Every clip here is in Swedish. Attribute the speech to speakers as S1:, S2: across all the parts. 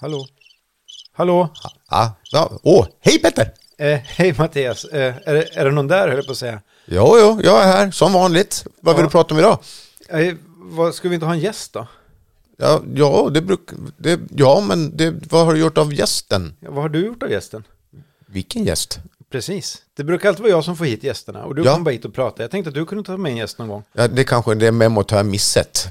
S1: Hallå? Hallå?
S2: Ja, ja. Åh, hej Petter!
S1: Eh, hej Mattias, eh, är, det- är det någon där höll jag på att säga.
S2: Jo, jo, jag är här som vanligt. Vad vill
S1: Ja.
S2: du prata om idag?
S1: Eh, vad, ska vi inte ha en gäst då?
S2: Ja, ja, det bruk, det, ja men det, vad har du gjort av gästen?
S1: Ja, Vad har du gjort av gästen?
S2: Vilken gäst?
S1: Precis, det brukar alltid vara jag som får hit gästerna och du
S2: Ja.
S1: kom bara hit och pratade. Jag tänkte att du kunde ta med en gäst någon gång.
S2: Ja, det kanske det memot har jag missat.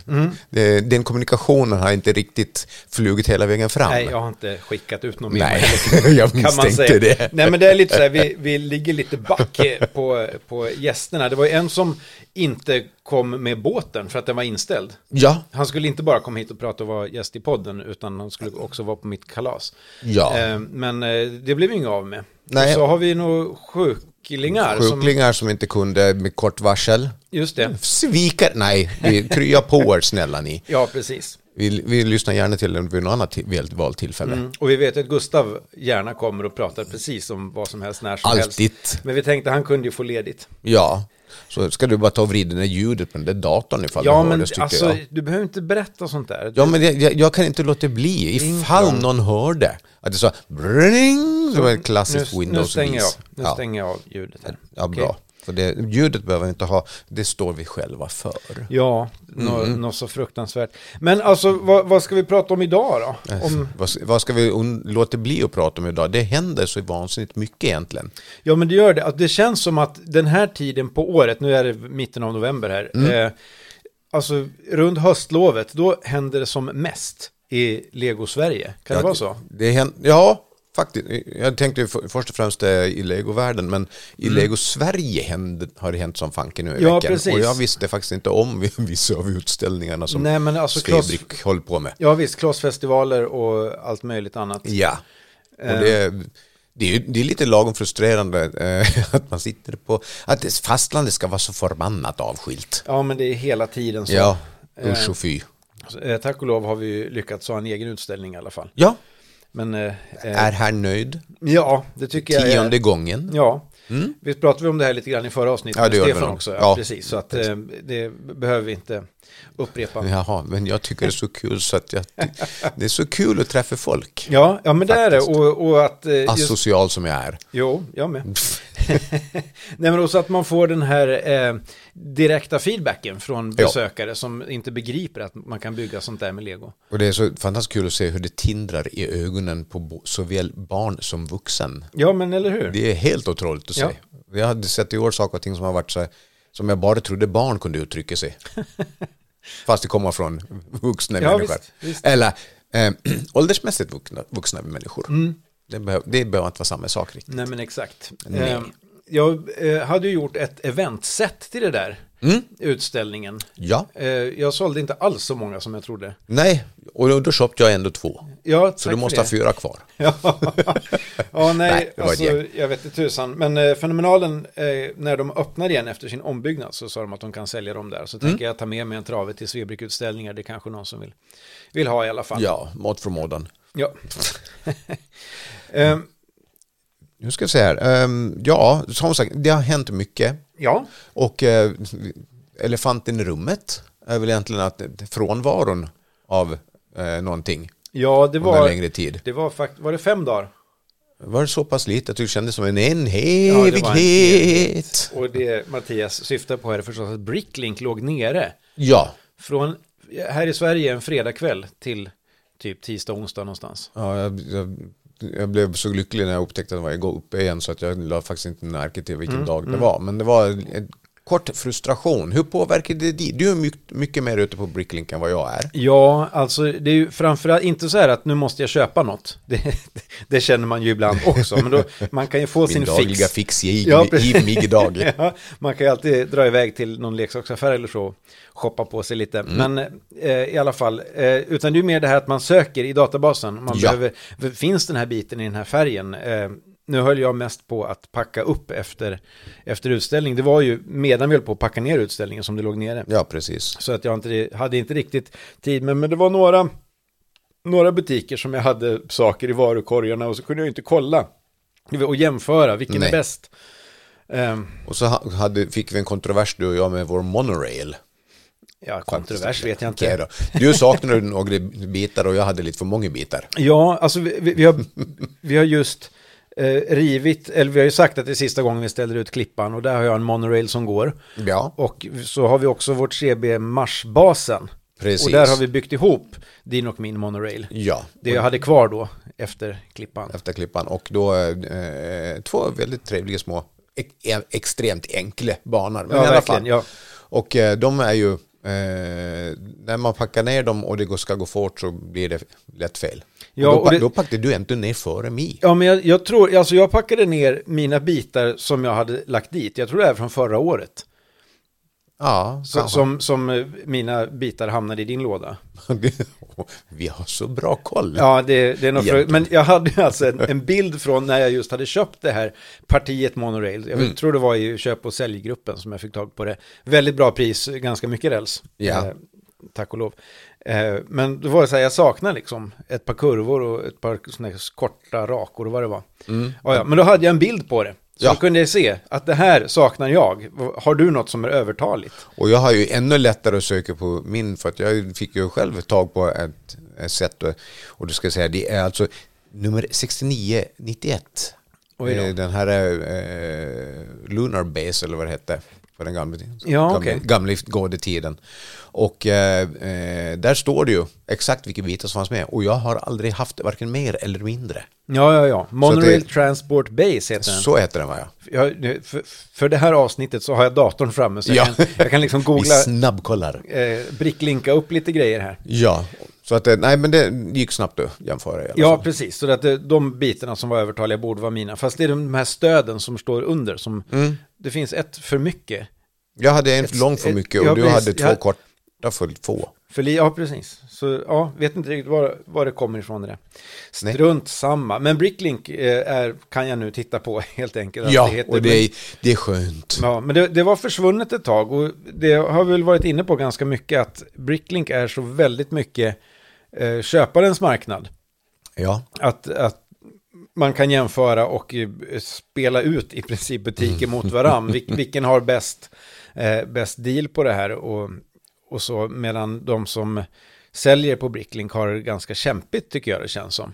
S2: Det, den kommunikationen har inte riktigt flugit hela vägen fram.
S1: Nej, jag har inte skickat ut någon
S2: Nej,
S1: mer.
S2: jag
S1: Kan man
S2: misstänkte
S1: säga.
S2: det.
S1: Nej men det är lite så här, vi, vi ligger lite back eh, på, på gästerna. Det var ju en som inte kom med båten för att den var inställd.
S2: Ja,
S1: Han skulle inte bara komma hit och prata och vara gäst i podden, utan han skulle också vara på mitt kalas.
S2: Ja.
S1: Eh, Men eh, det blev ju inget av med.
S2: Nej.
S1: Och Så har vi nog sjuklingar. Som,
S2: sjuklingar som inte kunde med kort varsel.
S1: just det.
S2: Svikar, nej, vi krya på er snälla ni.
S1: Ja, precis.
S2: Vi, vi lyssnar gärna till den vid något annat ti- vel- valtillfälle.
S1: Mm. Och vi vet ju att Gustav gärna kommer och pratar precis om vad som helst när som
S2: Alltid.
S1: helst. Men vi tänkte han kunde ju få ledigt.
S2: Ja, så ska du bara ta och vrida ner ljudet på den där datorn ifall
S1: Ja,
S2: du hör
S1: men
S2: det, tycker
S1: alltså,
S2: jag.
S1: du behöver inte berätta sånt där.
S2: Ja, men jag, jag, jag kan inte låta bli ifall någon hör det. Att det sa bring, det var ett klassiskt
S1: nu, nu
S2: windows
S1: stänger jag, nu
S2: ja.
S1: stänger jag av ljudet här.
S2: ja,
S1: Okej.
S2: bra. För det, ljudet behöver vi inte ha, det står vi själva för.
S1: Ja, nå- något så fruktansvärt. Men alltså, vad, vad ska vi prata om idag då? Om,
S2: Vad, vad ska vi un- låta bli att prata om idag? Det händer så vansinnigt mycket egentligen.
S1: ja, men det gör det. Att Det känns som att den här tiden på året, nu är det mitten av november här,
S2: Mm.
S1: eh, alltså runt höstlovet, då händer det som mest i Lego-Sverige. Kan det
S2: Ja,
S1: vara så?
S2: Det hän- ja, faktiskt. Jag tänkte ju för- först och främst eh, i Lego-världen, men i Lego-Sverige händer- har det hänt som fanken nu i
S1: Mm. Ja,
S2: veckan.
S1: precis.
S2: Och jag visste faktiskt inte om vissa av utställningarna som
S1: Nej, men alltså, Claes-
S2: Fredrik håller på med.
S1: Ja, visst, klossfestivaler och allt möjligt annat.
S2: Ja, och
S1: Eh.
S2: det, det, är, ju- det är lite lagom frustrerande eh, att man sitter på, att det- fastlandet ska vara så förbannat avskilt.
S1: Ja, men det är hela tiden så.
S2: Ja, usch och fy.
S1: Eh, Tack och lov har vi ju lyckats ha en egen utställning i alla fall.
S2: Ja,
S1: Men eh, eh,
S2: är här nöjd.
S1: ja, det tycker jag är...
S2: Tionde gången. Mm.
S1: Ja, visst pratade vi om det här lite grann i förra avsnittet
S2: Ja, det
S1: med
S2: gjorde vi
S1: Stefan
S2: nog.
S1: också. Ja,
S2: Ja,
S1: precis. Så att eh, det behöver vi inte upprepa.
S2: Jaha, men jag tycker det är så kul så att jag, det är så kul att träffa folk.
S1: Ja, ja men det är det. Och, och att... eh, Just,
S2: asocial som jag är.
S1: jo, jag med. Nej, men också att man får den här eh, direkta feedbacken från
S2: Ja.
S1: besökare som inte begriper att man kan bygga sånt där med lego.
S2: Och det är så fantastiskt kul att se hur det tindrar i ögonen på bo- såväl barn som vuxen.
S1: Ja, men eller hur?
S2: Det är helt otroligt att se.
S1: Ja.
S2: Jag hade sett i år saker och ting som har varit så här, som jag bara trodde barn kunde uttrycka sig. Fast det kommer från vuxna
S1: Ja,
S2: människor.
S1: visst, visst.
S2: Eller eh, åldersmässigt vuxna, vuxna människor.
S1: Mm.
S2: Det, behöver, det behöver inte vara samma sak riktigt.
S1: Nej, men exakt.
S2: Nej.
S1: Eh, jag eh, hade ju gjort ett eventset till det där utställningen.
S2: Mm, Ja,
S1: Eh, jag sålde inte alls så många som jag trodde.
S2: nej, och då, då köpte jag ändå två.
S1: Ja,
S2: Så
S1: tack
S2: du måste
S1: för
S2: ha
S1: det.
S2: fyra kvar.
S1: Ja, ja nej,
S2: Nej, det var ett
S1: alltså,
S2: gäng.
S1: jag vet inte tusan. Men eh, fenomenalen, eh, när de öppnar igen efter sin ombyggnad så sa de att de kan sälja dem där. Så
S2: Mm.
S1: tänker jag ta med mig en trave till Svebrick-utställningar. Det är kanske någon som vill, vill ha i alla fall.
S2: Ja, mat från mådan.
S1: Ja. eh,
S2: Nu ska vi se här. Ehm, ja, som sagt, det har hänt mycket.
S1: ja,
S2: Och eh, elefanten i rummet är väl egentligen att frånvaron av eh, någonting
S1: ja, det
S2: under en
S1: var...
S2: längre tid.
S1: Det var faktiskt, var det fem dagar?
S2: Var det så pass lite att du kände som en
S1: Ja, det var en
S2: evighet?
S1: Och det Mattias syftar på är förstås att Bricklink låg nere.
S2: Ja,
S1: Från, här i Sverige en fredagkväll till typ tisdag, onsdag någonstans.
S2: ja jag, jag, jag blev så lycklig när jag upptäckte att den var igång uppe igen så att jag la faktiskt inte märke till
S1: Mm,
S2: vilken dag det var. Men det var en kort frustration. Hur påverkade det dig? Du är mycket, mycket mer ute på Bricklink än vad jag är.
S1: Ja, alltså det är ju framförallt inte så här att nu måste jag köpa något. Det, det känner man ju ibland också, men då, man kan ju få
S2: Min
S1: sin
S2: dagliga
S1: fix.
S2: fix i,
S1: Ja,
S2: i,
S1: precis.
S2: i mig idag.
S1: Ja, man kan ju alltid dra iväg till någon leksaksaffär eller så, shoppa på sig lite.
S2: Mm.
S1: Men eh, i alla fall, eh, utan det är ju mer det här att man söker i databasen. Man
S2: Ja.
S1: behöver, finns den här biten i den här färgen? Eh, nu höll jag mest på att packa upp efter, efter utställning. Det var ju medan vi höll på att packa ner utställningen som det låg nere.
S2: Ja, precis.
S1: Så att jag inte, hade inte riktigt tid med, men det var några, några butiker som jag hade saker i varukorgarna och så kunde jag ju inte kolla och jämföra vilken
S2: Nej.
S1: är bäst. Ehm,
S2: Och så ha- hade, fick vi en kontrovers du och jag med vår monorail.
S1: Ja, kontrovers vet jag inte.
S2: Okej då. Du saknade några bitar och jag hade lite för många bitar.
S1: Ja, alltså vi, vi, vi, har, vi har just eh, rivit, eller vi har ju sagt att det är sista gången vi ställer ut klippan och där har jag en monorail som går.
S2: Ja,
S1: Och så har vi också vårt CB Mars-basen.
S2: Precis.
S1: Och där har vi byggt ihop din och min monorail.
S2: ja.
S1: Det jag hade kvar då efter klippan.
S2: efter klippan. Och då eh, två väldigt trevliga små, e- extremt enkla banor. Men
S1: Ja,
S2: i alla
S1: verkligen,
S2: fall.
S1: ja.
S2: Och eh, de är ju, eh, när man packar ner dem och det går, ska gå fort så blir det lätt fel.
S1: Ja,
S2: och då,
S1: och
S2: pa-
S1: det-
S2: då packade du inte ner före mig.
S1: Ja, men jag, jag tror, alltså jag packade ner mina bitar som jag hade lagt dit. Jag tror det är från förra året.
S2: Ja,
S1: Så,
S2: kanske.
S1: som, som eh, mina bitar hamnade i din låda.
S2: Vi har så bra koll.
S1: Ja, det, det är nog för,
S2: Egentligen.
S1: Men jag hade ju alltså en, en bild från när jag just hade köpt det här partiet Monorail. Jag
S2: Mm.
S1: tror det var i köp och säljgruppen som jag fick tag på det. Väldigt bra pris, ganska mycket räls.
S2: Ja.
S1: Eh, tack och lov. Eh, men det var så här, jag saknar liksom ett par kurvor och ett par såna här korta rakor och vad det var. Ja, ja, men då hade jag en bild på det. Så
S2: Mm. Ja.
S1: då kunde jag se att det här saknar jag. Har du något som är övertaligt?
S2: Och jag har ju ännu lättare att söka på min för att jag fick ju själv ett tag på ett, ett sätt och, och du ska jag säga det är alltså nummer 6991.
S1: Oj då.
S2: Eh, Den här eh, Lunar Base eller vad det hette på den gamla,
S1: Ja,
S2: gamla,
S1: okej.
S2: gamla gode tiden. Och eh, eh, där står det ju exakt vilka bitar som fanns med och jag har aldrig haft varken mer eller mindre.
S1: Ja, ja, ja. Monorail
S2: det-
S1: Transport Base heter den.
S2: Så heter den va? ja.
S1: Jag, för, för det här avsnittet så har jag datorn framme så
S2: Ja.
S1: jag, kan, jag kan liksom
S2: Vi
S1: googla,
S2: snabbkollar.
S1: eh, bricklinka upp lite grejer här.
S2: Ja, så att det, nej men det gick snabbt att jämföra i alla
S1: Ja, precis. Så att eh, de bitarna som var övertaliga borde vara mina. Fast det är de här stöden som står under som...
S2: Mm.
S1: Det finns ett för mycket.
S2: Jag hade en lång för
S1: ett-
S2: mycket och
S1: ja,
S2: du
S1: precis.
S2: hade två
S1: Jag-
S2: korta för få.
S1: För, li- ja, precis. Så ja, vet inte riktigt var, var det kommer ifrån det där.
S2: Nej.
S1: Strunt samma. Men bricklink eh, är, kan jag nu titta på helt enkelt. att
S2: Ja,
S1: heter.
S2: och det är, det är skönt.
S1: Ja, men det, det var försvunnet ett tag och det har vi väl varit inne på ganska mycket att Bricklink är så väldigt mycket eh, köparens marknad.
S2: Ja,
S1: Att, att man kan jämföra och eh, spela ut i princip butiker mot varann. Vil, vilken har bäst, eh, bäst deal på det här och, och så medan de som säljer på Bricklink har det ganska kämpigt tycker jag det känns som.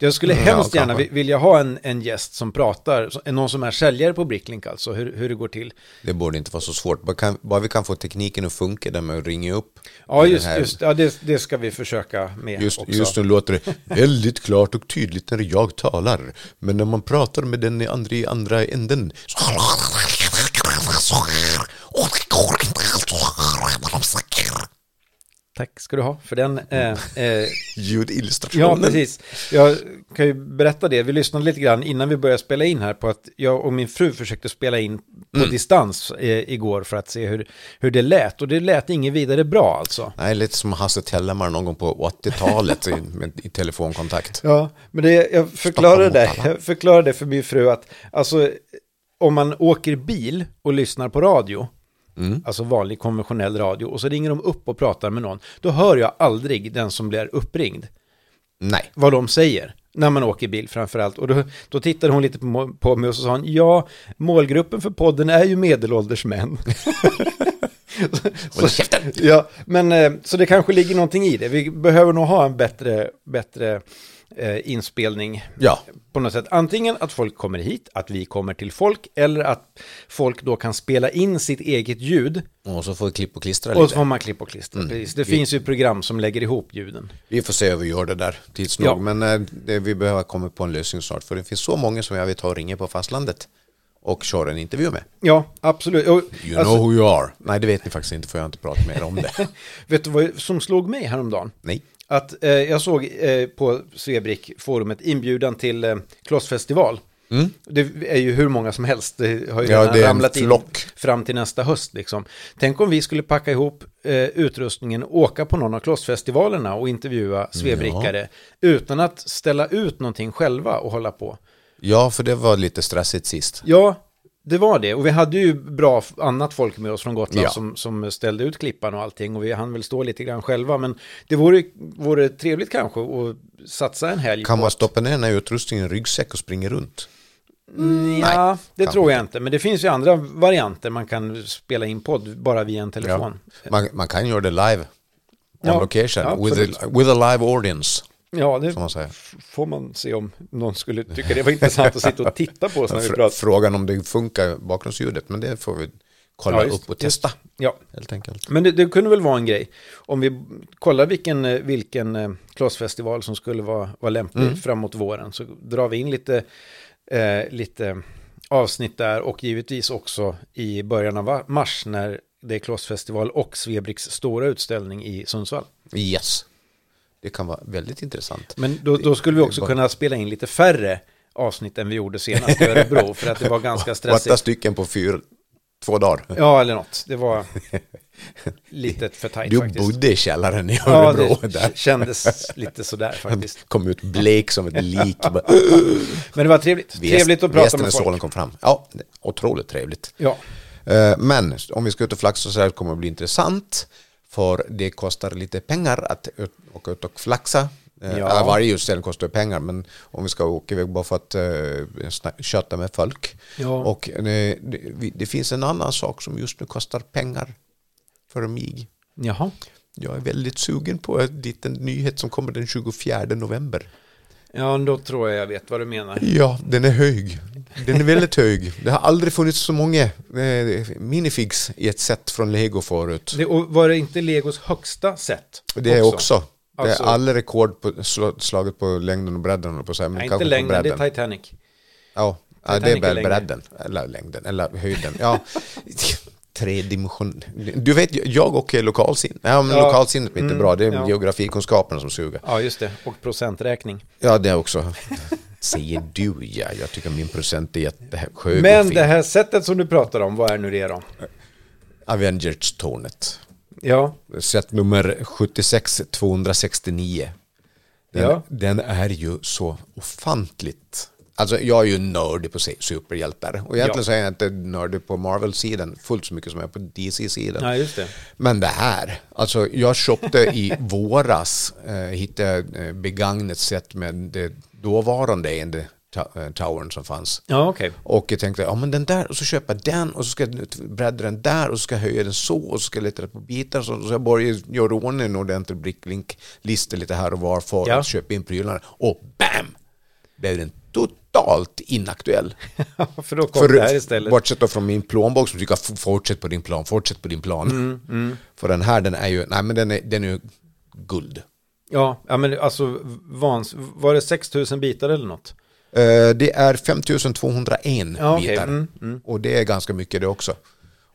S1: Jag skulle
S2: Mm, Ja,
S1: hemskt gärna
S2: kanske.
S1: vi- vilja ha en, en gäst som pratar, så- någon som är säljare på Bricklink alltså, hur, hur det går till.
S2: det borde inte vara så svårt. Bara, kan, bara vi kan få tekniken att funka där med att ringa upp.
S1: Ja,
S2: den
S1: just,
S2: här-
S1: just ja, det. Det ska vi försöka med
S2: Just,
S1: också.
S2: just nu låter det väldigt klart och tydligt när jag talar. Men när man pratar med den i andra, i andra änden. så-
S1: Tack ska du ha för den.
S2: Mm.
S1: Eh, eh, ja,
S2: Ljudillustrationen.
S1: precis. Jag kan ju berätta det. Vi lyssnade lite grann innan vi började spela in här på att jag och min fru försökte spela in på
S2: Mm.
S1: distans eh, igår för att se hur, hur det lät. Och det lät inget vidare bra alltså.
S2: Nej, lite som Hasse Tellemar någon gång på 80-talet i, med, i telefonkontakt.
S1: Ja, men det, jag förklarade det, jag förklarade det för min fru att alltså, om man åker bil och lyssnar på radio, alltså vanlig konventionell radio, och så ringer de upp och pratar med någon, då hör jag aldrig den som blir uppringd,
S2: Nej.
S1: vad de säger. När man åker bil framför allt. Och då, då tittade hon lite på, må- på mig och så sa hon, ja, målgruppen för podden är ju medelålders män.
S2: Håll käften!
S1: Ja, men eh, så det kanske ligger någonting i det. Vi behöver nog ha en bättre, bättre eh, inspelning
S2: Ja,
S1: på något sätt. Antingen att folk kommer hit, att vi kommer till folk, eller att folk då kan spela in sitt eget ljud.
S2: och så får vi klippa och klistra
S1: Och
S2: lite. Mm.
S1: så får man klipp och klistra. Precis. Det finns ju program som lägger ihop ljuden.
S2: Vi får se hur vi gör det där tids nog.
S1: Ja.
S2: Men eh, det, vi behöver komma på en lösning snart. För det finns så många som jag vill ta och ringa på fastlandet. Och köra en intervju med.
S1: Ja, absolut. Och,
S2: You
S1: alltså,
S2: know who you are. Nej, det vet ni faktiskt inte för jag har inte pratat mer om det.
S1: vet du vad som slog mig häromdagen?
S2: Nej.
S1: Att eh, jag såg eh, på Svebrick-forumet inbjudan till eh, Klossfestival. Det är ju hur många som helst. Det har ju
S2: Mm. Ja,
S1: redan
S2: det är en
S1: ramlat in
S2: flock.
S1: fram till nästa höst. Liksom. Tänk om vi skulle packa ihop eh, utrustningen och åka på någon av klossfestivalerna och intervjua svebrickare utan att ställa ut någonting själva och hålla på.
S2: Ja, för det var lite stressigt sist.
S1: Ja, det var det. Och vi hade ju bra f- annat folk med oss från Gotland
S2: Ja.
S1: som, som ställde ut klippan och allting. Och vi hann väl stå lite grann själva. Men det vore, vore trevligt kanske att satsa en helg.
S2: Kan
S1: på
S2: man
S1: att-
S2: stoppa ner den här utrustningen i en ryggsäck och springa runt?
S1: Mm,
S2: Nej,
S1: Ja, det
S2: kanske
S1: tror jag inte. Men det finns ju andra varianter. Man kan spela in podd bara via en telefon.
S2: Man, man kan göra det live. On
S1: Ja,
S2: location.
S1: ja,
S2: with, a, with a live audience.
S1: Ja, det
S2: Som man säger.
S1: f- får man se om någon skulle tycka det var intressant att sitta och titta på oss när vi
S2: Fr-
S1: pratar.
S2: Frågan om det funkar bakgrundsljudet. Men det får vi kolla
S1: Ja, just-
S2: upp och testa.
S1: Ja,
S2: Helt enkelt.
S1: men det, det kunde väl vara en grej. Om vi kollar vilken, eh, vilken eh, klossfestival som skulle vara, vara lämplig
S2: Mm.
S1: framåt våren så drar vi in lite, eh, lite avsnitt där och givetvis också i början av va- mars när det är klossfestival och Svebriks stora utställning i Sundsvall.
S2: Yes. Det kan vara väldigt intressant.
S1: Men då, då skulle vi också kunna spela in lite färre avsnitt än vi gjorde senast i Örebro för att det var ganska
S2: Åtta
S1: stressigt.
S2: stycken på fyra, två dagar.
S1: Ja, eller något. Det var lite för tajt
S2: Du
S1: faktiskt.
S2: bodde i källaren i
S1: Ja,
S2: Örebro.
S1: det
S2: där.
S1: k- kändes lite sådär faktiskt.
S2: Kom ut blek som ett lik. Bara,
S1: Men det var trevligt. Trevligt att prata
S2: västen när
S1: med folk.
S2: solen kom fram. Ja, otroligt trevligt.
S1: Ja,
S2: Eh, Men om vi ska ut och flaxa så här kommer det bli intressant. För det kostar lite pengar att ut- åka ut och flaxa. Eh,
S1: Ja.
S2: alla Varje utställning kostar ju pengar, men om vi ska åka iväg bara för att eh, sna- köta med folk.
S1: Ja.
S2: Och eh, det, vi- det finns en annan sak som just nu kostar pengar för mig.
S1: jaha.
S2: Jag är väldigt sugen på eh, en liten nyhet som kommer den 24 november.
S1: Ja, då tror jag jag vet vad du menar.
S2: Ja, den är hög. Den är väldigt hög. Det har aldrig funnits så många eh, minifigs i ett set från Lego förut.
S1: Det, och var det inte Legos högsta set?
S2: Och Det är också. Det
S1: Alltså-
S2: är alla rekord på, sl- slaget på längden och bredden. höll jag På så här, men
S1: Nej, inte
S2: kanske på
S1: längden, det
S2: bredden.
S1: är Titanic.
S2: Ja, ja det är
S1: Titanic är
S2: väl
S1: längre.
S2: bredden. Eller längden, eller höjden. Ja, tredimension. Du vet, jag och lokalsinne. Ja, men
S1: Ja. Mm,
S2: lokalsinnet är inte bra. Det är
S1: ja.
S2: geografikunskaperna som suger.
S1: Ja, just det. Och procenträkning.
S2: Ja, det också. Säger du ja. Jag tycker min procent är jättehög och
S1: Men
S2: fin.
S1: det här sättet som du pratar om, vad är nu det då?
S2: Avengers-tornet.
S1: Ja,
S2: Set nummer 76 269. Den,
S1: Ja.
S2: den är ju så ofantligt. Alltså jag är ju nördig på se- superhjältar. Och egentligen
S1: Ja.
S2: så är jag inte nördig på Marvel-sidan fullt så mycket som jag är på DC-sidan.
S1: ja just det.
S2: Men det här, alltså jag köpte i våras, eh, hittade jag, eh, begagnet set med det dåvarande in the ta- eh, towern som fanns.
S1: Ja, okej.
S2: Och jag tänkte, ja men den där, och så köper jag den, och så ska jag bredda den där, och så ska jag höja den så, och så ska jag leta på bitar, så, så jag bara gör i ordning en ordentlig bricklink-lista lite här och var för
S1: Ja.
S2: att köpa in prylarna. Och BAM! Blev den totalt inaktuell.
S1: För då kom det här istället.
S2: Bortsett då från min plånbok som tycker, "F- fortsätt på din plan, fortsätt på din plan.
S1: Mm,
S2: För den här, den är ju, nej men den är, den är ju guld.
S1: Ja, ja, men alltså, vans, var det 6 000 bitar eller något?
S2: Eh, Det är 5201
S1: Ja, okej.
S2: bitar.
S1: Mm,
S2: Och det är ganska mycket det också.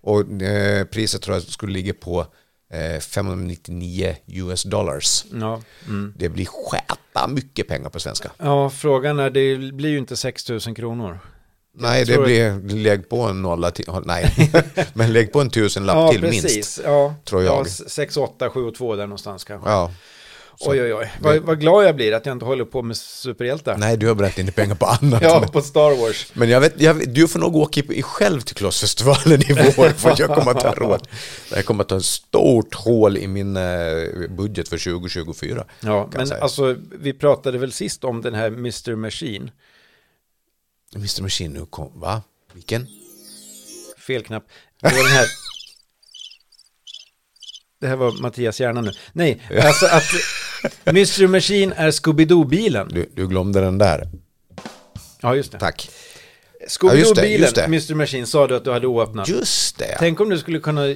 S2: Och eh, priset tror jag skulle ligga på eh, 599 US dollars.
S1: Ja, Mm.
S2: Det blir skäta mycket pengar på svenska.
S1: ja frågan är, det blir ju inte 6 000 kronor.
S2: Nej, det
S1: tror
S2: blir, lägg på en nolla till, nej, men lägg på en tusenlapp
S1: Ja,
S2: till
S1: precis.
S2: minst.
S1: Ja,
S2: tror jag.
S1: Ja, 6, 8, 7 och 2 där någonstans kanske.
S2: Ja.
S1: Oj, oj, oj. Vad, vad glad jag blir att jag inte håller på med superhjältar.
S2: Nej, du har bränt in pengar på annat.
S1: Ja,
S2: men-
S1: på Star Wars.
S2: Men jag vet, jag vet, du får nog åka i, i själv till Klossfestivalen i vår för att jag kommer att ha råd. Jag kommer att ha ett stort hål i min eh, budget för 2024.
S1: Ja,
S2: kan jag
S1: men
S2: säga.
S1: alltså, vi pratade väl sist om den här Mr. Machine.
S2: Mr Machine nu kom, va? Vilken?
S1: Fel knapp. Det var den här. Det här var Mattias hjärna nu. Nej, alltså att Mr. Machine är Scooby-Doo-bilen.
S2: Du, du glömde den där.
S1: Ja, just det.
S2: Tack. Ja, just det,
S1: Scooby-Doo-bilen,
S2: just det.
S1: Mr. Machine, sa du att du hade oöppnat.
S2: Just det.
S1: Tänk om du skulle kunna,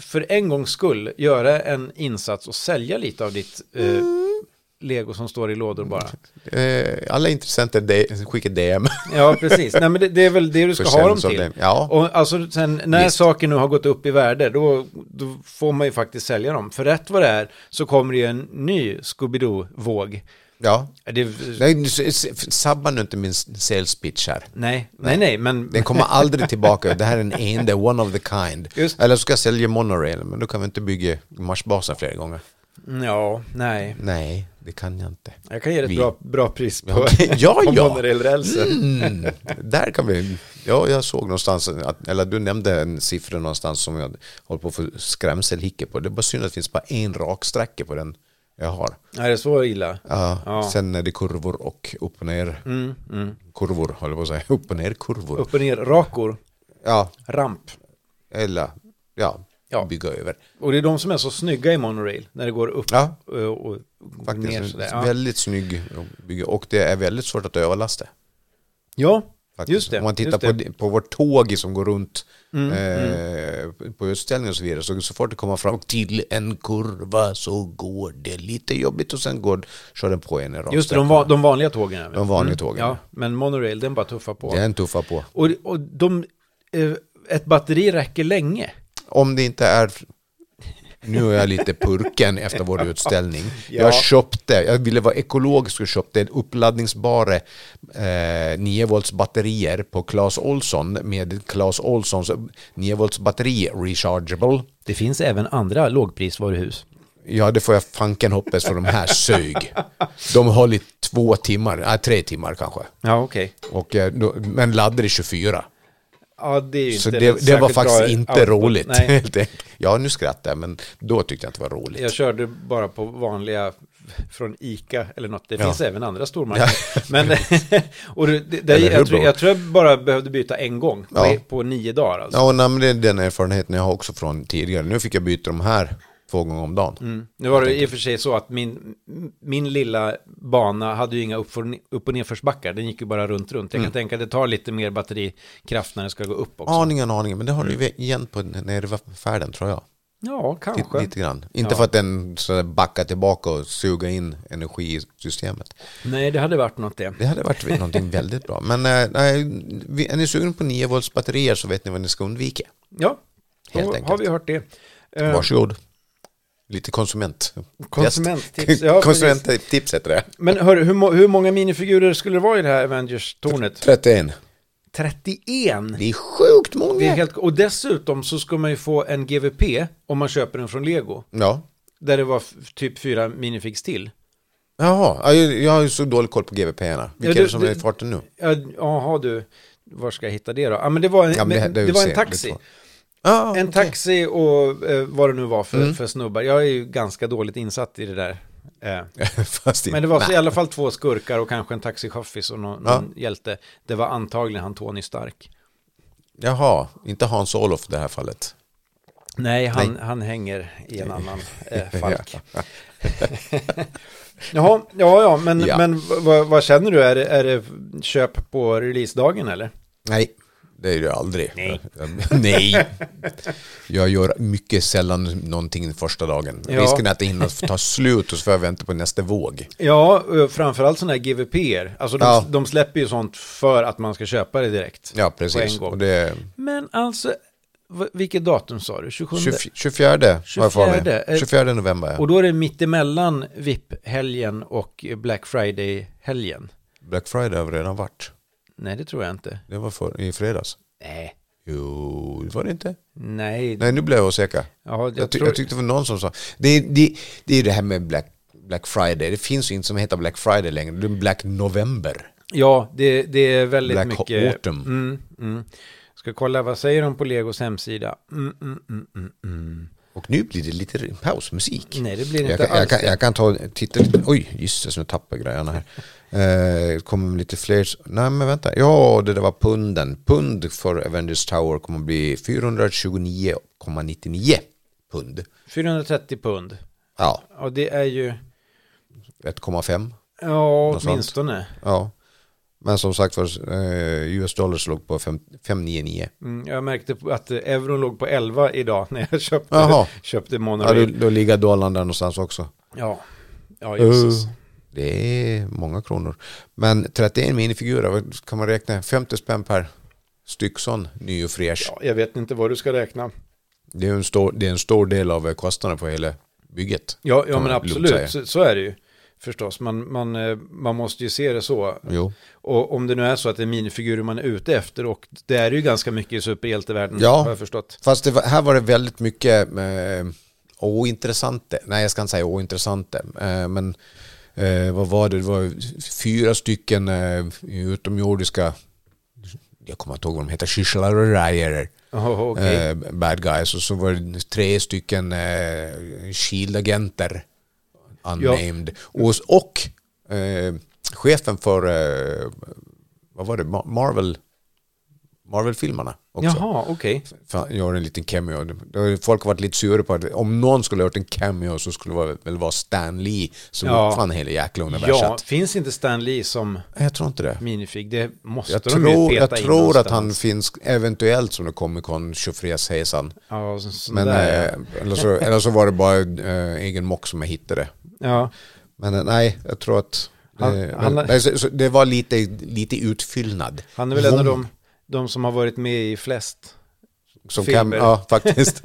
S1: för en gångs skull, göra en insats och sälja lite av ditt eh,
S2: Mm.
S1: lego som står i lådor bara.
S2: Eh, alla intressenter de, skickar DM.
S1: Ja, precis. Nej, men det, det är väl det du ska ha dem
S2: Försäljning av
S1: till.
S2: dem, ja.
S1: Och alltså, sen när
S2: Visst.
S1: saker nu har gått upp i värde, då, då får man ju faktiskt sälja dem. För rätt vad det är så kommer det ju en ny Scooby-Doo-våg.
S2: ja.
S1: Det,
S2: Nej, nu s- s- sabba nu inte min s- sales pitch här.
S1: nej, nej, nej, men...
S2: Den kommer aldrig tillbaka. Det här är en enda, one of the kind.
S1: Just.
S2: Eller så ska jag sälja monorail, men då kan vi inte bygga Marsbasen flera gånger.
S1: Ja, nej.
S2: Nej, det kan jag inte.
S1: Jag kan ge dig ett
S2: Vi-
S1: bra, bra pris på,
S2: Okej, ja,
S1: på
S2: ja.
S1: monorailrälsen.
S2: Mm, där kan vi... Ja, jag såg någonstans, att, eller du nämnde en siffra någonstans som jag håller på att få skrämselhicka på. Det är bara synd att det finns bara en raksträcka på den jag har.
S1: Är det så illa?
S2: Ja,
S1: Ja.
S2: Sen är det kurvor och upp och ner
S1: Mm, mm.
S2: kurvor, håller jag på att säga. Upp och ner kurvor.
S1: Upp och ner, rakor,
S2: Ja,
S1: ramp.
S2: eller ja,
S1: Ja.
S2: bygga över.
S1: Och det är de som är så snygga i monorail, när det går upp
S2: Ja,
S1: eh, och går
S2: faktiskt.
S1: ner sådär. Ja,
S2: Väldigt snygg att bygga och det är väldigt svårt att överlasta.
S1: ja
S2: Faktiskt.
S1: Just det,
S2: Om man tittar
S1: just
S2: på,
S1: det. Mm,
S2: di- på vårt tåg som går runt eh, på utställningen och så vidare, så, så fort det kommer fram till en kurva så går det lite jobbigt och sen går, kör den på en i rakt
S1: just det, de, va- de vanliga tågen. även.
S2: De vanliga tågen.
S1: Ja, men monorail, den bara tuffar på.
S2: Det är en tuffa på.
S1: Och, och de, eh, ett batteri räcker länge.
S2: Om det inte är... Nu är jag lite purken efter vår utställning.
S1: Ja.
S2: Jag köpte, jag ville vara ekologisk och köpte en uppladdningsbara eh, 9 volts batterier på Clas Olsson med Clas Olssons 9 volts batteri rechargeable.
S1: Det finns även andra lågprisvaruhus.
S2: Ja, det får jag fanken hoppas för de här sög. De höll i två timmar, äh, tre timmar kanske.
S1: Ja, okej.
S2: Och, eh, då, men laddade i 24.
S1: Ja, det är ju
S2: Så
S1: inte
S2: det,
S1: något
S2: det var
S1: särskilt bra
S2: faktiskt inte
S1: output.
S2: roligt.
S1: Nej,
S2: helt enkelt. Ja, nu skrattar jag, men då tyckte jag inte det var roligt.
S1: jag körde bara på vanliga från Ica eller något. Det
S2: Ja.
S1: finns även andra stormarknader. Men, och det, det, det,
S2: Eller
S1: jag, tror,
S2: Hubro.
S1: jag tror jag bara behövde byta en gång på,
S2: Ja.
S1: på nio dagar. Alltså.
S2: Ja, nej, men det är den erfarenheten jag har också från tidigare. Nu fick jag byta de här två gånger om dagen.
S1: Nu var det i och för sig så att min, min lilla bana hade ju inga upp och, upp och nerförsbackar. Den gick ju bara runt, runt. Jag kan tänka att det tar lite mer batterikraft när den ska gå upp också.
S2: Aningen, aningen, men det har du ju igen på nervfärden tror jag.
S1: Ja,
S2: Lite,
S1: kanske.
S2: lite grann. Inte
S1: Ja.
S2: för att den sådär backar tillbaka och suger in energi i systemet.
S1: Nej, det hade varit något det.
S2: Det hade varit någonting väldigt bra. Men eh, nej, vi- är ni sugna på 9 volts batterier så vet ni vad ni ska undvika.
S1: Ja, då
S2: Helt
S1: har
S2: enkelt.
S1: vi hört det. Eh,
S2: Varsågod. Lite konsument.
S1: Konsumenttips, ja, precis.
S2: Konsumenttips heter det.
S1: Men hör, hur, må- hur många minifigurer skulle det vara i det här Avengers-tornet?
S2: 31.
S1: 31!
S2: Det är sjukt många.
S1: Det är helt, och dessutom så ska man ju få en GVP om man köper den från Lego.
S2: Ja.
S1: Där det var f- typ fyra minifigs till.
S2: Jaha, ja, jag, jag har ju så dålig koll på GVP-erna. Vilka
S1: Ja, det-
S2: är det som
S1: det-
S2: är i farten nu?
S1: Ja, Jaha du, var ska jag hitta det då? Ja men det var en,
S2: Ja, men
S1: men det,
S2: det- det är ju
S1: var en
S2: se-
S1: taxi.
S2: det är Ah,
S1: En taxi och eh, vad det nu var
S2: Mm.
S1: för, för snubbar. Jag är ju ganska dåligt insatt i det där. Eh,
S2: Fast inte.
S1: men det var så i alla fall två skurkar och kanske en taxichaffis och någon, någon hjälte. Det var antagligen han Tony Stark.
S2: Jaha, inte Hans Olof i det här fallet.
S1: Nej, han, han hänger i en annan eh, falk.
S2: Ja.
S1: Jaha, ja, ja, men,
S2: Ja.
S1: men vad, vad känner du? Är det, är det köp på releasedagen eller?
S2: Nej, det är det aldrig.
S1: Nej.
S2: Nej. Jag gör mycket sällan någonting den första dagen.
S1: Ja.
S2: Risken är att det hinner ta slut och så får jag vänta på nästa våg.
S1: Ja, eh, framförallt sådana här GVP-er. Alltså de,
S2: Ja.
S1: de släpper ju sånt för att man ska köpa det direkt.
S2: Ja,
S1: På en
S2: precis.
S1: gång.
S2: Och det är
S1: Men alltså, v- vilket datum sa du? 27?
S2: 20, 24, har jag för mig.
S1: 24.
S2: 24 november, ja.
S1: Och då är det mittemellan VIP-helgen och Black Friday-helgen.
S2: Black Friday har redan varit.
S1: Nej, det tror jag inte.
S2: Det var för, i fredags.
S1: Nej,
S2: Jo, det var det inte.
S1: nej.
S2: Nej, nu blev jag osäker.
S1: Ja, jag,
S2: Jag, ty-
S1: tror...
S2: jag tyckte det var någon som sa, det, det, det är det här med Black, Black Friday, det finns ju inte som heter Black Friday längre, det är Black November.
S1: ja det, det är väldigt
S2: Black
S1: mycket.
S2: Autumn.
S1: Mm, mm. Ska kolla, vad säger de på Legos hemsida? Mm, mm, mm, mm, mm.
S2: Och nu blir det lite pausmusik.
S1: Nej, det blir inte
S2: Jag kan, jag,
S1: alls
S2: kan,
S1: det.
S2: jag kan ta titta lite, oj jisses nu tappar jag grejerna här. Eh, kommer lite fler, nej men vänta, ja det där var punden. Pund för Avengers Tower kommer att bli 429,99 pund.
S1: 430 pund.
S2: Ja,
S1: Ja, det är ju...
S2: 1,5.
S1: Ja,
S2: Något sånt.
S1: åtminstone.
S2: Ja. Men som sagt var, eh, US dollars låg på fem- 599.
S1: Mm, jag märkte på- att eh, euron låg på 11 idag när jag köpte,
S2: Jaha.
S1: köpte
S2: Ja, då,
S1: monorail.
S2: då ligger dollarn där någonstans också.
S1: Ja, ja, jösses.
S2: Det är många kronor. Men 31 minifigurer, vad kan man räkna? 50 spänn per styck sån ny och fräsch.
S1: ja, jag vet inte vad du ska räkna.
S2: Det, är ju en stor, det är en stor del av eh, kostnaden för hela bygget.
S1: Ja, ja
S2: man
S1: men
S2: lugnt säga.
S1: absolut, så, så är det ju. Förstås, man, man, eh, man måste ju se det så.
S2: Jo.
S1: Och om det nu är så att det är minifigurer man är ute efter, och det är ju ganska mycket i superhjältevärlden,
S2: Ja.
S1: har jag förstått.
S2: Fast det var, här var det väldigt mycket eh, ointressante. Nej, jag ska inte säga ointressante. Eh, men eh, vad var det? Det var fyra stycken eh, utomjordiska, jag kommer inte ihåg vad de heter, Shishalarayer.
S1: Oh,
S2: eh, bad guys och så var det tre stycken eh, shield-agenter. unnamed. Och, och eh, chefen för, eh, vad var det, Ma- Marvel, Marvel-filmerna också.
S1: Jaha, okej.
S2: Fan, gör en liten cameo. Det har ju- Folk har varit lite sura på att om någon skulle ha gjort en cameo så skulle det vara- väl vara Stan Lee som
S1: Ja.
S2: uppfann hela jäkla universet.
S1: Ja, finns inte Stan Lee som
S2: Nej, Jag tror inte det.
S1: minifig? Det måste
S2: Jag
S1: de ju
S2: tror,
S1: peta
S2: jag
S1: in
S2: tror att han
S1: någonstans.
S2: finns eventuellt som en Comic Con tjofräshejsan.
S1: Ja, så, sån
S2: Men
S1: där. ja.
S2: eh, eller, så, eller så var det bara eh, egen mock som jag hittade.
S1: Ja,
S2: Men eh, nej, jag tror att det,
S1: Han- han-
S2: nej, så, så det var lite, lite utfyllnad.
S1: han är väl en av
S2: Vom-
S1: de, de som har varit med i flest.
S2: som kan,
S1: filmer.
S2: Ja, faktiskt.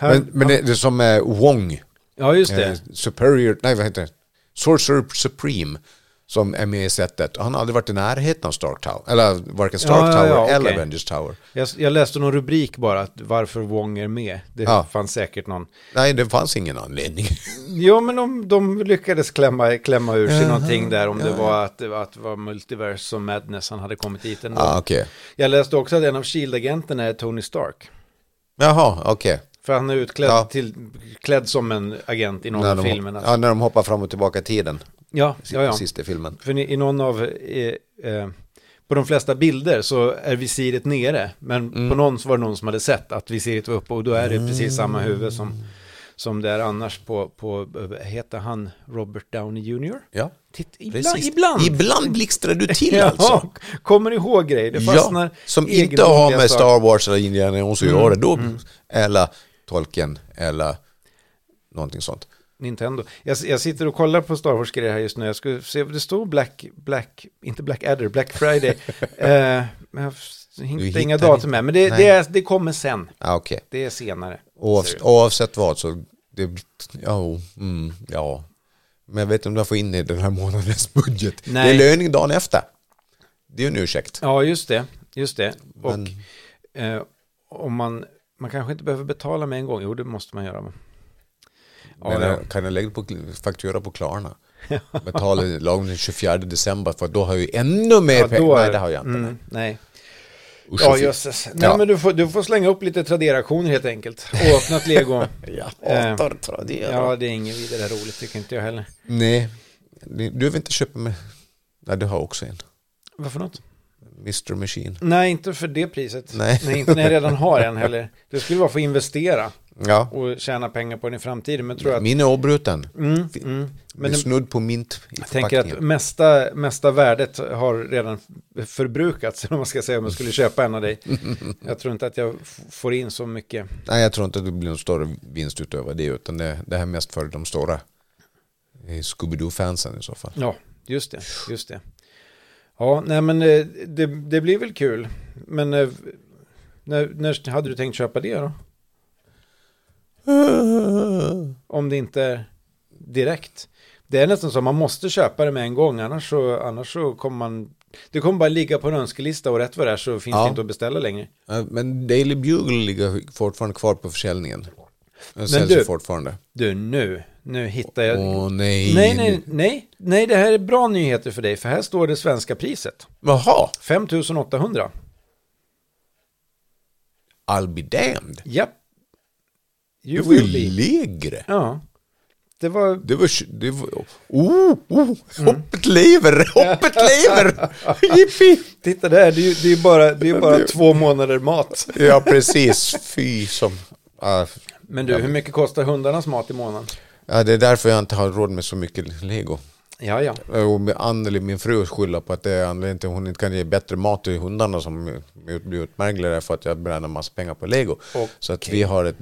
S2: men men det, det är som eh, Wong.
S1: Ja, just det.
S2: eh, Superior, nej vad heter det? Sorcerer Supreme som är med i setet. Han har aldrig varit i närheten av Stark Tower, eller varken Stark
S1: Ja, ja,
S2: Tower
S1: ja, okej.
S2: eller Avengers Tower.
S1: Jag, jag läste någon rubrik bara, att varför Wong är med. Det
S2: Ja.
S1: fanns säkert någon.
S2: Nej, det fanns ingen anledning.
S1: Jo, men om de lyckades klämma, klämma ur sig någonting där, om det var att det var, att det var multiversum madness, han hade kommit dit ändå.
S2: ah, okej.
S1: Jag läste också att en av Shield-agenterna är Tony Stark.
S2: Jaha, okej.
S1: För han är utklädd
S2: Ja.
S1: till, klädd som en agent i någon
S2: När
S1: av
S2: de,
S1: filmerna.
S2: ja, när de hoppar fram och tillbaka i tiden.
S1: Ja, ja, ja.
S2: Sista filmen.
S1: För ni- i någon av, eh, eh, på de flesta bilder så är visiret nere, men
S2: Mm.
S1: på någon så var det någon som hade sett att visiret var uppe och då är det precis samma
S2: Mm.
S1: huvud som, som det är annars på, på eh, heter han Robert Downey Jr?
S2: Ja,
S1: Titt, ibland,
S2: precis.
S1: ibland.
S2: Ibland blixtrar du till
S1: Ja,
S2: alltså.
S1: kommer ihåg grejer, det fastnar
S2: Ja, som inte
S1: egendomliga
S2: har med
S1: saker. Mm,
S2: Star Wars eller Indiana Jones att göra. Då, Eller Tolkien eller någonting sånt.
S1: Nintendo. Jag, jag sitter och kollar på Star Wars-grejer här just nu. Jag skulle se, det står Black, Black, inte Black Adder, Black Friday. eh, men jag hittar inga
S2: hittar
S1: datum
S2: inte.
S1: här, men det,
S2: Nej.
S1: det, är, det kommer sen.
S2: Ah, okej.
S1: Det är senare.
S2: Oavs oavsett vad så, det, ja, o, mm, ja. Men jag vet inte om jag får in det i den här månadens budget.
S1: Nej.
S2: Det är löning dagen efter. Det är ju en ursäkt.
S1: Ja, just det. Just det. Och
S2: Men-
S1: eh, om man, man kanske inte behöver betala med en gång. Jo, det måste man göra. va? Ja,
S2: Men eh,
S1: ja.
S2: jag kan jag lägga på faktura på Klarna? Betala lagom den 24 december för då har jag ju ännu mer
S1: Ja,
S2: pengar.
S1: då är-
S2: Nej, det har jag inte.
S1: Mm, nej.
S2: Usch, och
S1: Ja,
S2: fy.
S1: jösses. Nej,
S2: Ja.
S1: men du får, du får slänga upp lite Tradera-aktioner helt enkelt. Och öppna ett lego.
S2: Jag
S1: Eh,
S2: hatar Tradera.
S1: ja, det är inget vidare roligt, tycker inte jag heller.
S2: Nej, Ni- du vill inte köpa med... Nej, du har också en.
S1: Varför något?
S2: Mr. Machine.
S1: Nej, inte för det priset.
S2: Nej.
S1: inte när jag redan har en heller. Det skulle vara för att investera
S2: Ja,
S1: och tjäna pengar på den i framtiden. Men tror jag att...
S2: min är avbruten.
S1: Mm, mm.
S2: Men
S1: Men
S2: det
S1: det-
S2: är snudd på mint i
S1: Jag tänker att
S2: förpackningen.
S1: mesta, mesta värdet har redan förbrukats, om man ska säga, om jag skulle köpa en av dig. Jag tror inte att jag f- får in så mycket.
S2: Nej, jag tror inte att det blir någon större vinst utöver det, utan det, det här är mest för de stora eh, Scooby-Doo-fansen i så fall.
S1: Ja, just det, just det. Ja, nej men eh, det, det blir väl kul. Men eh, när, när hade du tänkt köpa det då? Om det inte är direkt. Det är nästan så man måste köpa det med en gång, annars så, annars så kommer man... Det kommer bara ligga på en önskelista och rätt vad det är så finns
S2: Ja.
S1: det inte att beställa längre.
S2: Ja, Men Daily Bugle ligger fortfarande kvar på försäljningen. Den säljs
S1: du-
S2: ju fortfarande.
S1: Du, nu, nu hittar jag...
S2: Åh nej.
S1: Nej, nej, nej, nej, det här är bra nyheter för dig, för här står det svenska priset.
S2: Jaha,
S1: 5800.
S2: I'll be damned.
S1: Japp. You
S2: Det var ju
S1: will be.
S2: lägre.
S1: Ja. Det var...
S2: Det var... Det var oh,
S1: Mm.
S2: oh, hoppet lever! Hoppet lever! Jippi!
S1: Titta där, det är ju det är ju bara, det är ju bara
S2: Det-
S1: två månader mat.
S2: Ja, precis. Fy som... Ah,
S1: Men du, hur mycket kostar hundarnas mat i månaden?
S2: Ja, det är därför jag inte har råd med så mycket lego.
S1: Ja, ja.
S2: Och med Anneli, min fru, skyller på att det är anledningen till att hon inte kan ge bättre mat till hundarna som ut- blir utmärglade för att jag bränner massa pengar på lego. Så att vi har ett...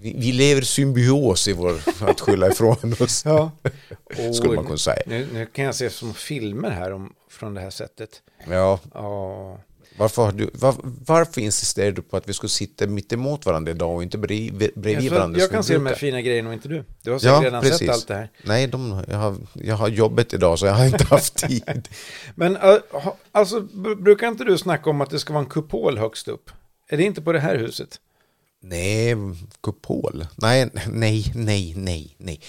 S2: Vi, vi lever i symbios i vår... Att skylla ifrån oss.
S1: ja.
S2: Skulle man kunna säga.
S1: Nu, nu kan jag se som filmer här om, från det här sättet.
S2: Ja.
S1: Ja.
S2: Varför, har du, var, varför insisterar du på att vi skulle sitta mitt emot varandra idag och inte bredvid,
S1: Jag,
S2: bredvid
S1: tror att
S2: varandra?
S1: jag
S2: som vi
S1: kan se de här
S2: brukar?
S1: fina grejerna och inte du. Du har säkert redan sett allt det här.
S2: Nej, de, jag, har, jag har jobbet idag så jag har inte haft tid.
S1: Men äh, ha- alltså, br- brukar inte du snacka om att det ska vara en kupol högst upp? Är det inte på det här huset?
S2: Nej, kupol. Nej, nej, nej, nej, nej.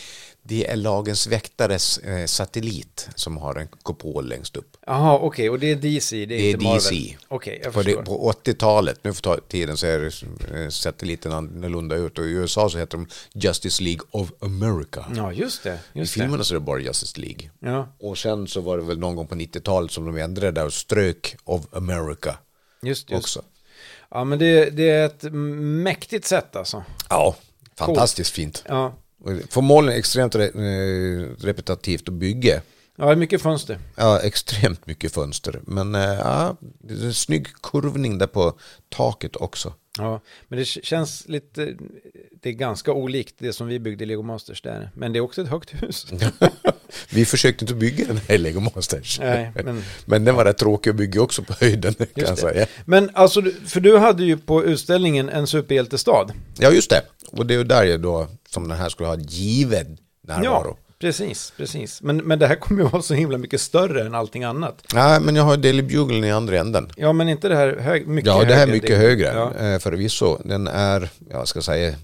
S2: Det är lagens väktares eh, satellit som har en kupol längst upp.
S1: Jaha, okej, och det är DC, det är,
S2: Det är
S1: inte Marvel.
S2: DC.
S1: Okej, jag
S2: För det,
S1: förstår.
S2: på 80-talet, nu för ta- tiden så är det, eh, satelliten annorlunda ut och i USA så heter de Justice League of America.
S1: Ja, just det.
S2: I
S1: Mm, Just det.
S2: filmerna så är det bara Justice League.
S1: Ja,
S2: Och sen så var det väl någon gång på 90-talet som de ändrade där och strök of America
S1: just, just.
S2: också.
S1: Ja, men det, det är ett mäktigt sätt alltså.
S2: Ja, fantastiskt fint.
S1: Ja,
S2: Och För molnen är extremt re, eh, repetitivt att bygga.
S1: ja det är mycket fönster.
S2: Ja, extremt mycket fönster. Men eh, ja, det är en snygg kurvning där på taket också.
S1: Ja, men det k- känns lite, det är ganska olikt det som vi byggde i Lego Masters där. Men det är också ett högt hus.
S2: Vi försökte inte bygga den här Lego Masters.
S1: Nej, men-
S2: men den var rätt tråkig att bygga också på höjden kan jag
S1: det.
S2: säga.
S1: Men alltså, du- för du hade ju på utställningen en superhjältestad.
S2: Ja, just det. Och det är ju där jag då som den här skulle ha given närvaro. Ja.
S1: precis, precis. Men, men det här kommer ju vara så himla mycket större än allting annat.
S2: Nej, men jag har ju Daily Bugle i andra änden.
S1: Ja, men inte det här hög, mycket
S2: Ja, det här är
S1: högre.
S2: mycket högre
S1: Ja,
S2: eh, förvisso. Den är, jag ska säga,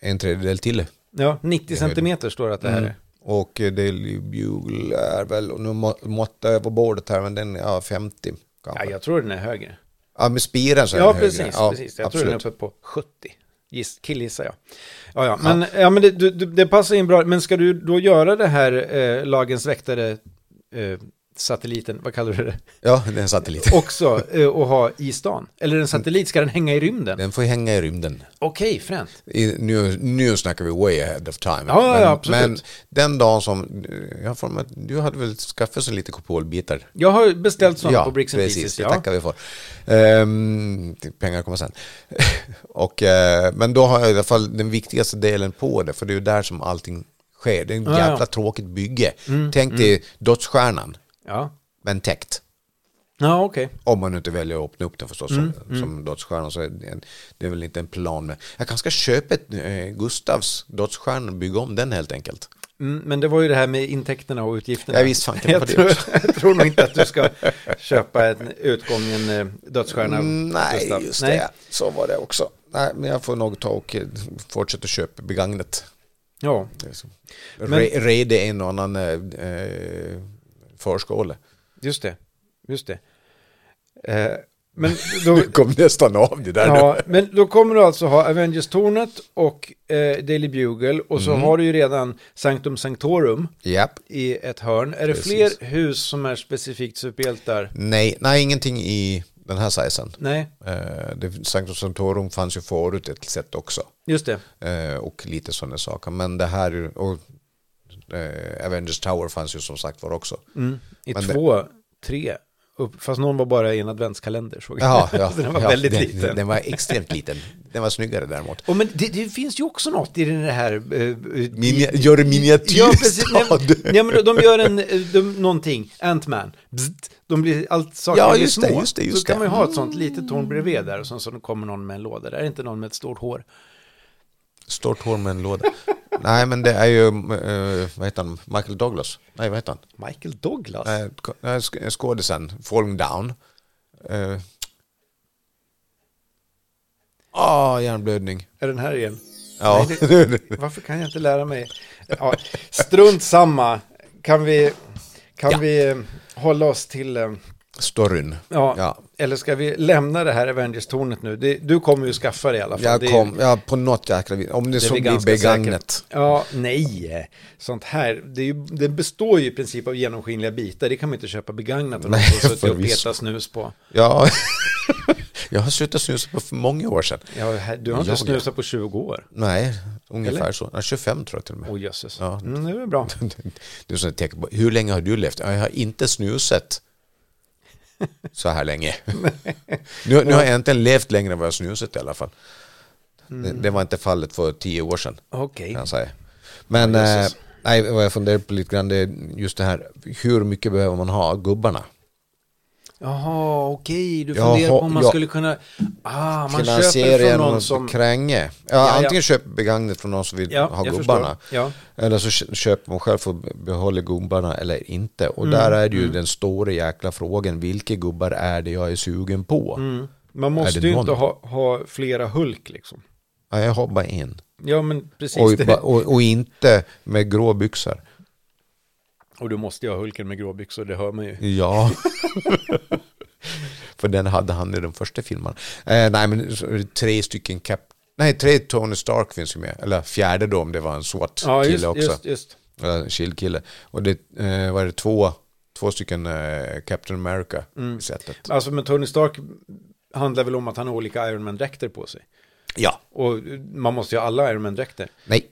S2: en tredjedel till.
S1: ja 90 centimeter står det att det här är.
S2: Och eh, Daily Bugle är väl, och nu må- måttar jag på bordet här, men den är ja, 50
S1: Ja,
S2: kanske. Ja,
S1: jag tror den är högre.
S2: med spiren så är
S1: Ja,
S2: den högre.
S1: precis.
S2: ja,
S1: precis. Jag tror den är
S2: absolut.
S1: uppe på 70. Giss, killgissar jag. Ja, ja. Men, ja, men det, du, du, det passar in bra. Men ska du då göra det här eh, lagens väktare, eh, satelliten, vad kallar du det,
S2: Ja, den satte lite.
S1: också eh, och ha i stan? Eller en satellit, ska den hänga i rymden?
S2: Den får hänga i rymden.
S1: Okej, fränt.
S2: I, nu, nu snackar vi way ahead of time.
S1: Ja, ja, ja, absolut.
S2: men den dagen som, jag får, mig att du hade väl skaffat sig lite kupolbitar?
S1: Jag har beställt sånt
S2: ja,
S1: på Bricks and
S2: precis,
S1: Pieces.
S2: det
S1: Ja,
S2: tackar vi för. Ehm, pengar kommer sen. och, eh, men då har jag i alla fall den viktigaste delen på det, för det är ju där som allting sker. Det är en
S1: Ja, Mm, ja.
S2: jävla tråkigt bygge. Tänk dig dödsstjärnan,
S1: ja.
S2: men täckt.
S1: ja okej.
S2: Om man nu inte väljer att öppna upp den förstås
S1: Mm,
S2: som, som dödsstjärna så är det, en, det är väl inte en plan. Med. Jag kanske ska köpa ett, eh, Gustavs dödsstjärna och bygga om den helt enkelt.
S1: Mm, men det var ju det här med intäkterna och utgifterna.
S2: Jag visst fan kan jag på
S1: jag,
S2: det
S1: tror, jag tror nog inte att du ska köpa en utgången eh, dödsstjärna.
S2: Mm, Nej,
S1: Gustav.
S2: just det. Så var det också. Nej, men jag får nog ta och eh, fortsätta köpa begagnet.
S1: Ja, Men-
S2: Re, reda en och annan eh, eh, förskåle.
S1: Just det, just det. Eh, men, då,
S2: Du kom nästan av det där.
S1: ja, men då kommer du alltså ha Avengers-tornet och eh, Daily Bugle och
S2: Mhm.
S1: så har du ju redan Sanctum Sanctorum
S2: nu. Japp.
S1: i ett hörn. Är det
S2: Precis.
S1: fler hus som är specifikt superhjältar?
S2: Nej, nej, ingenting i den här sizen.
S1: Nej,
S2: Eh, det, Sanctum Sanctorum fanns ju förut ett sätt också.
S1: just det.
S2: Eh, och lite sådana saker. Men det här och eh, Avengers Tower fanns ju som sagt var också.
S1: Mm. I
S2: Men det-
S1: två, tre, upp, fast någon var bara i en adventskalender såg jag.
S2: Jaha, ja,
S1: Så den var
S2: ja,
S1: väldigt
S2: den,
S1: liten.
S2: Den var extremt liten. Den var snyggare däremot.
S1: Och men det, det finns ju också något i den här... Eh,
S2: Minia, gör en
S1: Ja, precis. Nej,
S2: miniatyrstad.
S1: men- nej, men de- de gör en, eh, de, någonting, Ant-Man. Bzzzt. De blir, allt saker
S2: Ja,
S1: blir
S2: just
S1: små.
S2: det, just det, just
S1: så kan
S2: det.
S1: man ju ha ett sånt litet torn bredvid där och sen så kommer någon med en låda. Där är inte någon med ett stort hår.
S2: Stort hår med en låda. Nej, men det är ju, eh, vad heter han, Michael Douglas? Nej, vad heter han?
S1: Michael Douglas?
S2: Nej, ko- nej, sk- eh, skådisen, Falling Down. Eh. Ah, hjärnblödning.
S1: Är den här igen?
S2: Ja.
S1: Nej, Varför kan jag inte lära mig? Ja, strunt samma. Kan vi, kan
S2: Ja.
S1: vi eh, hålla oss till... eh,
S2: Storyn.
S1: Ja,
S2: Ja.
S1: eller ska vi lämna det här Avengers-tornet nu? Det, du kommer ju skaffa det i alla fall. Det
S2: Jag
S1: är-
S2: kom, ja, på något jäkla vis. Om det,
S1: är
S2: som
S1: vi
S2: blir
S1: ganska
S2: begagnet.
S1: Ja, nej. Sånt här, det, är ju, det består ju i princip av genomskinliga bitar. Det kan man inte köpa begagnat och
S2: Nej,
S1: någon suttit och
S2: förvisso.
S1: petat snus på.
S2: Ja. jag har slutat snusa på för många år sedan.
S1: Ja, här- du har inte
S2: Jag, ja.
S1: snusat på 20 år.
S2: Nej, ungefär
S1: Eller?
S2: så. Ja, 25 tror jag till och med.
S1: Åh jösses.
S2: Ja.
S1: Mm, det är väl bra.
S2: Du som tänker på, hur länge har du levt? Ja, Jag har inte snusat så här länge. nu, nu har jag inte levt längre än vad jag har snusat i alla fall.
S1: Mm.
S2: Det, det var inte fallet för tio år sedan,
S1: Okej.
S2: kan jag säga. Men
S1: Ja, Jesus.
S2: eh, nej, vad jag funderar på lite grann, det är just det här, hur mycket behöver man ha av gubbarna?
S1: Jaha, okej. Du
S2: Jag
S1: funderar på
S2: har-
S1: om man
S2: jag-
S1: skulle kunna... Ah, man köper
S2: Finansiera
S1: från
S2: genom
S1: någon
S2: att
S1: som...
S2: kränge. Ja,
S1: ja.
S2: Antingen köper begagnet från någon som vill
S1: Ja,
S2: ha
S1: jag
S2: gubbarna.
S1: förstår. Ja.
S2: Eller så kö- köper man själv för att behålla gubbarna eller inte. Och
S1: Mm.
S2: där är det ju den stora jäkla frågan. Vilka gubbar är det jag är sugen på?
S1: Mm. Man måste
S2: det
S1: ju
S2: någon?
S1: inte ha, ha flera Hulk liksom.
S2: Ja, jag har bara en.
S1: Ja, men precis.
S2: Och,
S1: det.
S2: ba- och, och inte med grå byxor.
S1: Och du måste ju ha Hulken med gråbyxor, det hör man ju.
S2: Ja. För den hade han i den första filmen. Eh, nej, men så- tre stycken cap... Nej, tre Tony Stark finns ju med. Eller fjärde då, om det var en
S1: Ja,
S2: SWAT-kille
S1: just,
S2: också.
S1: just, just.
S2: Eller en Shield-kille. Och det eh, var det två, två stycken eh, Captain America i sättet.
S1: Alltså, men Tony Stark handlar väl om att han har olika Iron Man-dräkter på sig.
S2: Ja.
S1: Och man måste ju ha alla Iron Man-dräkter.
S2: Nej.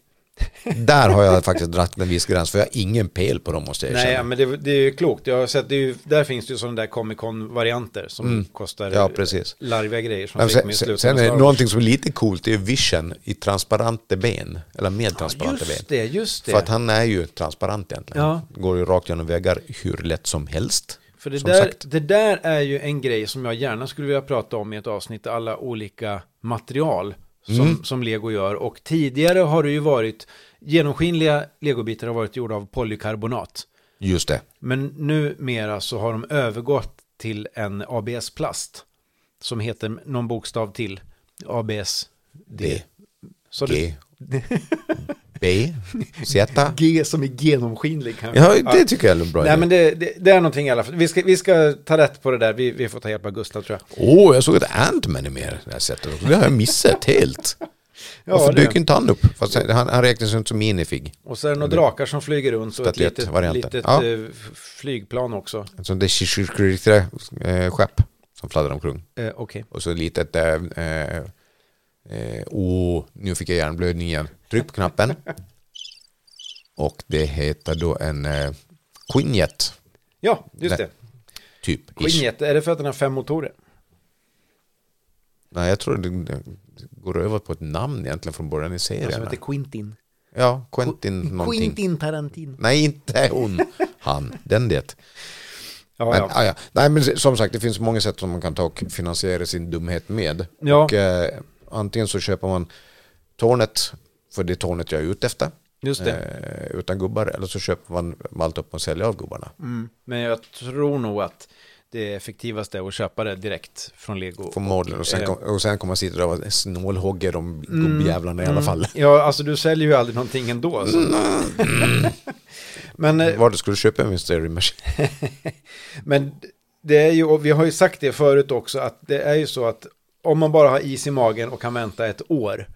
S2: Där har jag faktiskt dragit en viss gräns, för jag har ingen pel på dem måste jag
S1: Nej,
S2: erkänna.
S1: men det, det är ju klokt. Jag har sett, det är ju, där finns det ju sådana där Comic Con-varianter som kostar
S2: Mm. Ja, precis.
S1: larviga grejer som
S2: Men
S1: fick mig
S2: sen,
S1: i
S2: sen,
S1: slutet
S2: sen
S1: av
S2: är
S1: Star
S2: det
S1: Wars.
S2: någonting som är lite coolt, det är vision i transparenta ben. Eller med transparenta ben.
S1: Just det, just det.
S2: För att han är ju transparent egentligen.
S1: Ja.
S2: Går ju rakt genom väggar hur lätt som helst.
S1: För det
S2: som
S1: där,
S2: sagt.
S1: det där är ju en grej som jag gärna skulle vilja prata om i ett avsnitt, där alla olika material som,
S2: Mm.
S1: som Lego gör. Och tidigare har det ju varit, genomskinliga Legobitar har varit gjorda av polykarbonat.
S2: Just det.
S1: Men numera så har de övergått till en ABS-plast som heter någon bokstav till, ABS.
S2: D,
S1: Så det,
S2: G, B, Z.
S1: G som är genomskinlig kanske.
S2: Ja, det tycker jag är en bra
S1: Nej,
S2: idé.
S1: men det, det, det är någonting i alla fall. Vi ska, vi ska ta rätt på det där. Vi, vi får ta hjälp av Gustav tror jag.
S2: Åh, jag såg att Ant-Man är med det här sättet också. Det har jag missat helt. Varför
S1: det-
S2: dök inte han upp? Fast han, han räknas ju inte som minifig.
S1: Och så är det några drakar som flyger runt och ett
S2: Statyett,
S1: litet,
S2: varianten.
S1: litet
S2: Ja.
S1: eh, f- flygplan också.
S2: Alltså det är eh, skepp som fladdrar omkring.
S1: Eh, Okej.
S2: Och så lite ett... eh, eh, eh, Åh, nu fick jag hjärnblödning igen. Tryck på knappen. Och det heter då en eh, Quinjet.
S1: Ja, just
S2: Nej.
S1: det.
S2: Typ. ish.
S1: Skinjet, är det för att den har fem motorer?
S2: Nej, jag tror det, det går över på ett namn egentligen från början i
S1: Den som
S2: serien.
S1: heter Alltså, Quintin.
S2: Ja, Quentin någonting.
S1: Quintin Tarantino.
S2: Nej, inte hon. Han. Den det.
S1: Ja,
S2: Men,
S1: ja.
S2: ah, ja. Nej, men som sagt, det finns många sätt som man kan ta och finansiera sin dumhet med.
S1: Ja.
S2: Och, eh, antingen så köper man tornet, för det är tornet jag är ute efter,
S1: Just det.
S2: eh, utan gubbar, eller så köper man allt upp och säljer av gubbarna.
S1: Mm. Men jag tror nog att det effektivaste är att köpa det direkt från Lego.
S2: Förmodligen. Och sen,
S1: eh,
S2: kom, och sen kommer man sitta där och snålhogga de
S1: Mm.
S2: gubbjävlarna i alla fall.
S1: Ja, alltså du säljer ju aldrig någonting ändå. Så.
S2: Mm.
S1: men, eh,
S2: Var Mm. du skulle köpa en Mystery Machine?
S1: men det är ju, och vi har ju sagt det förut också, att det är ju så att om man bara har is i magen och kan vänta ett år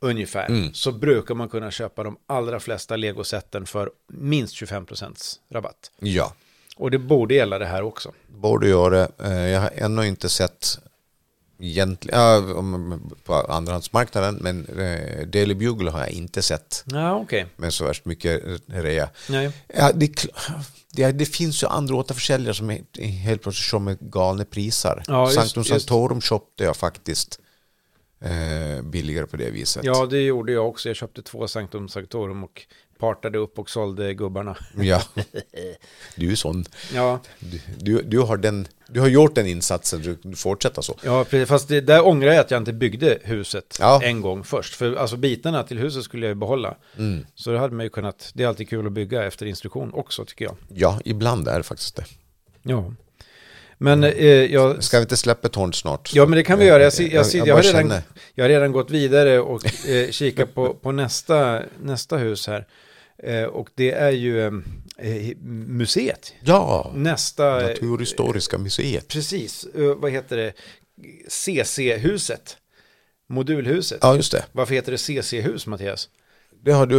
S1: ungefär,
S2: Mm.
S1: så brukar man kunna köpa de allra flesta Lego-sätten för minst 25% rabatt.
S2: Ja.
S1: Och det borde gälla det här också.
S2: Borde göra det. Eh, Jag har ännu inte sett egentligen, ja, om- på andrahandsmarknaden, men eh, Daily Bugle har jag inte sett
S1: Ja, okej.
S2: med så värst mycket rea.
S1: Nej.
S2: Ja, det, är kl- det, det finns ju andra återförsäljare som är, är helt plötsligt kör med galna priser.
S1: Ja, just-
S2: Sanctum
S1: just.
S2: Sanctorum köpte jag faktiskt eh, billigare på det viset.
S1: Ja, det gjorde jag också. Jag köpte två Sanctum Sanctorum och partade upp och sålde gubbarna.
S2: Ja. Du är sån.
S1: Ja,
S2: Du, du, du, har den, du har gjort den insatsen, du, du fortsätter så.
S1: ja precis. fast det, där ångrar jag att jag inte byggde huset
S2: Ja.
S1: en gång först. För alltså bitarna till huset skulle jag ju behålla. Så det hade man ju kunnat, det är alltid kul att bygga efter instruktion också tycker jag.
S2: Ja, ibland är det faktiskt det.
S1: Ja. Men eh, jag...
S2: Ska vi inte släppa Torn snart?
S1: Ja, men det kan vi göra. Jag, ser- jag, ser- jag, har,
S2: bara
S1: redan,
S2: känner.
S1: jag har redan gått vidare och eh, kikat på, på nästa, nästa hus här. Eh, och det är ju eh, eh, museet.
S2: Ja,
S1: Mm. Nästa...
S2: Naturhistoriska museet.
S1: Precis, eh, vad heter det? CC-huset. Modulhuset.
S2: Ja, just det.
S1: Varför heter det CC-hus, Mattias?
S2: Det har, du,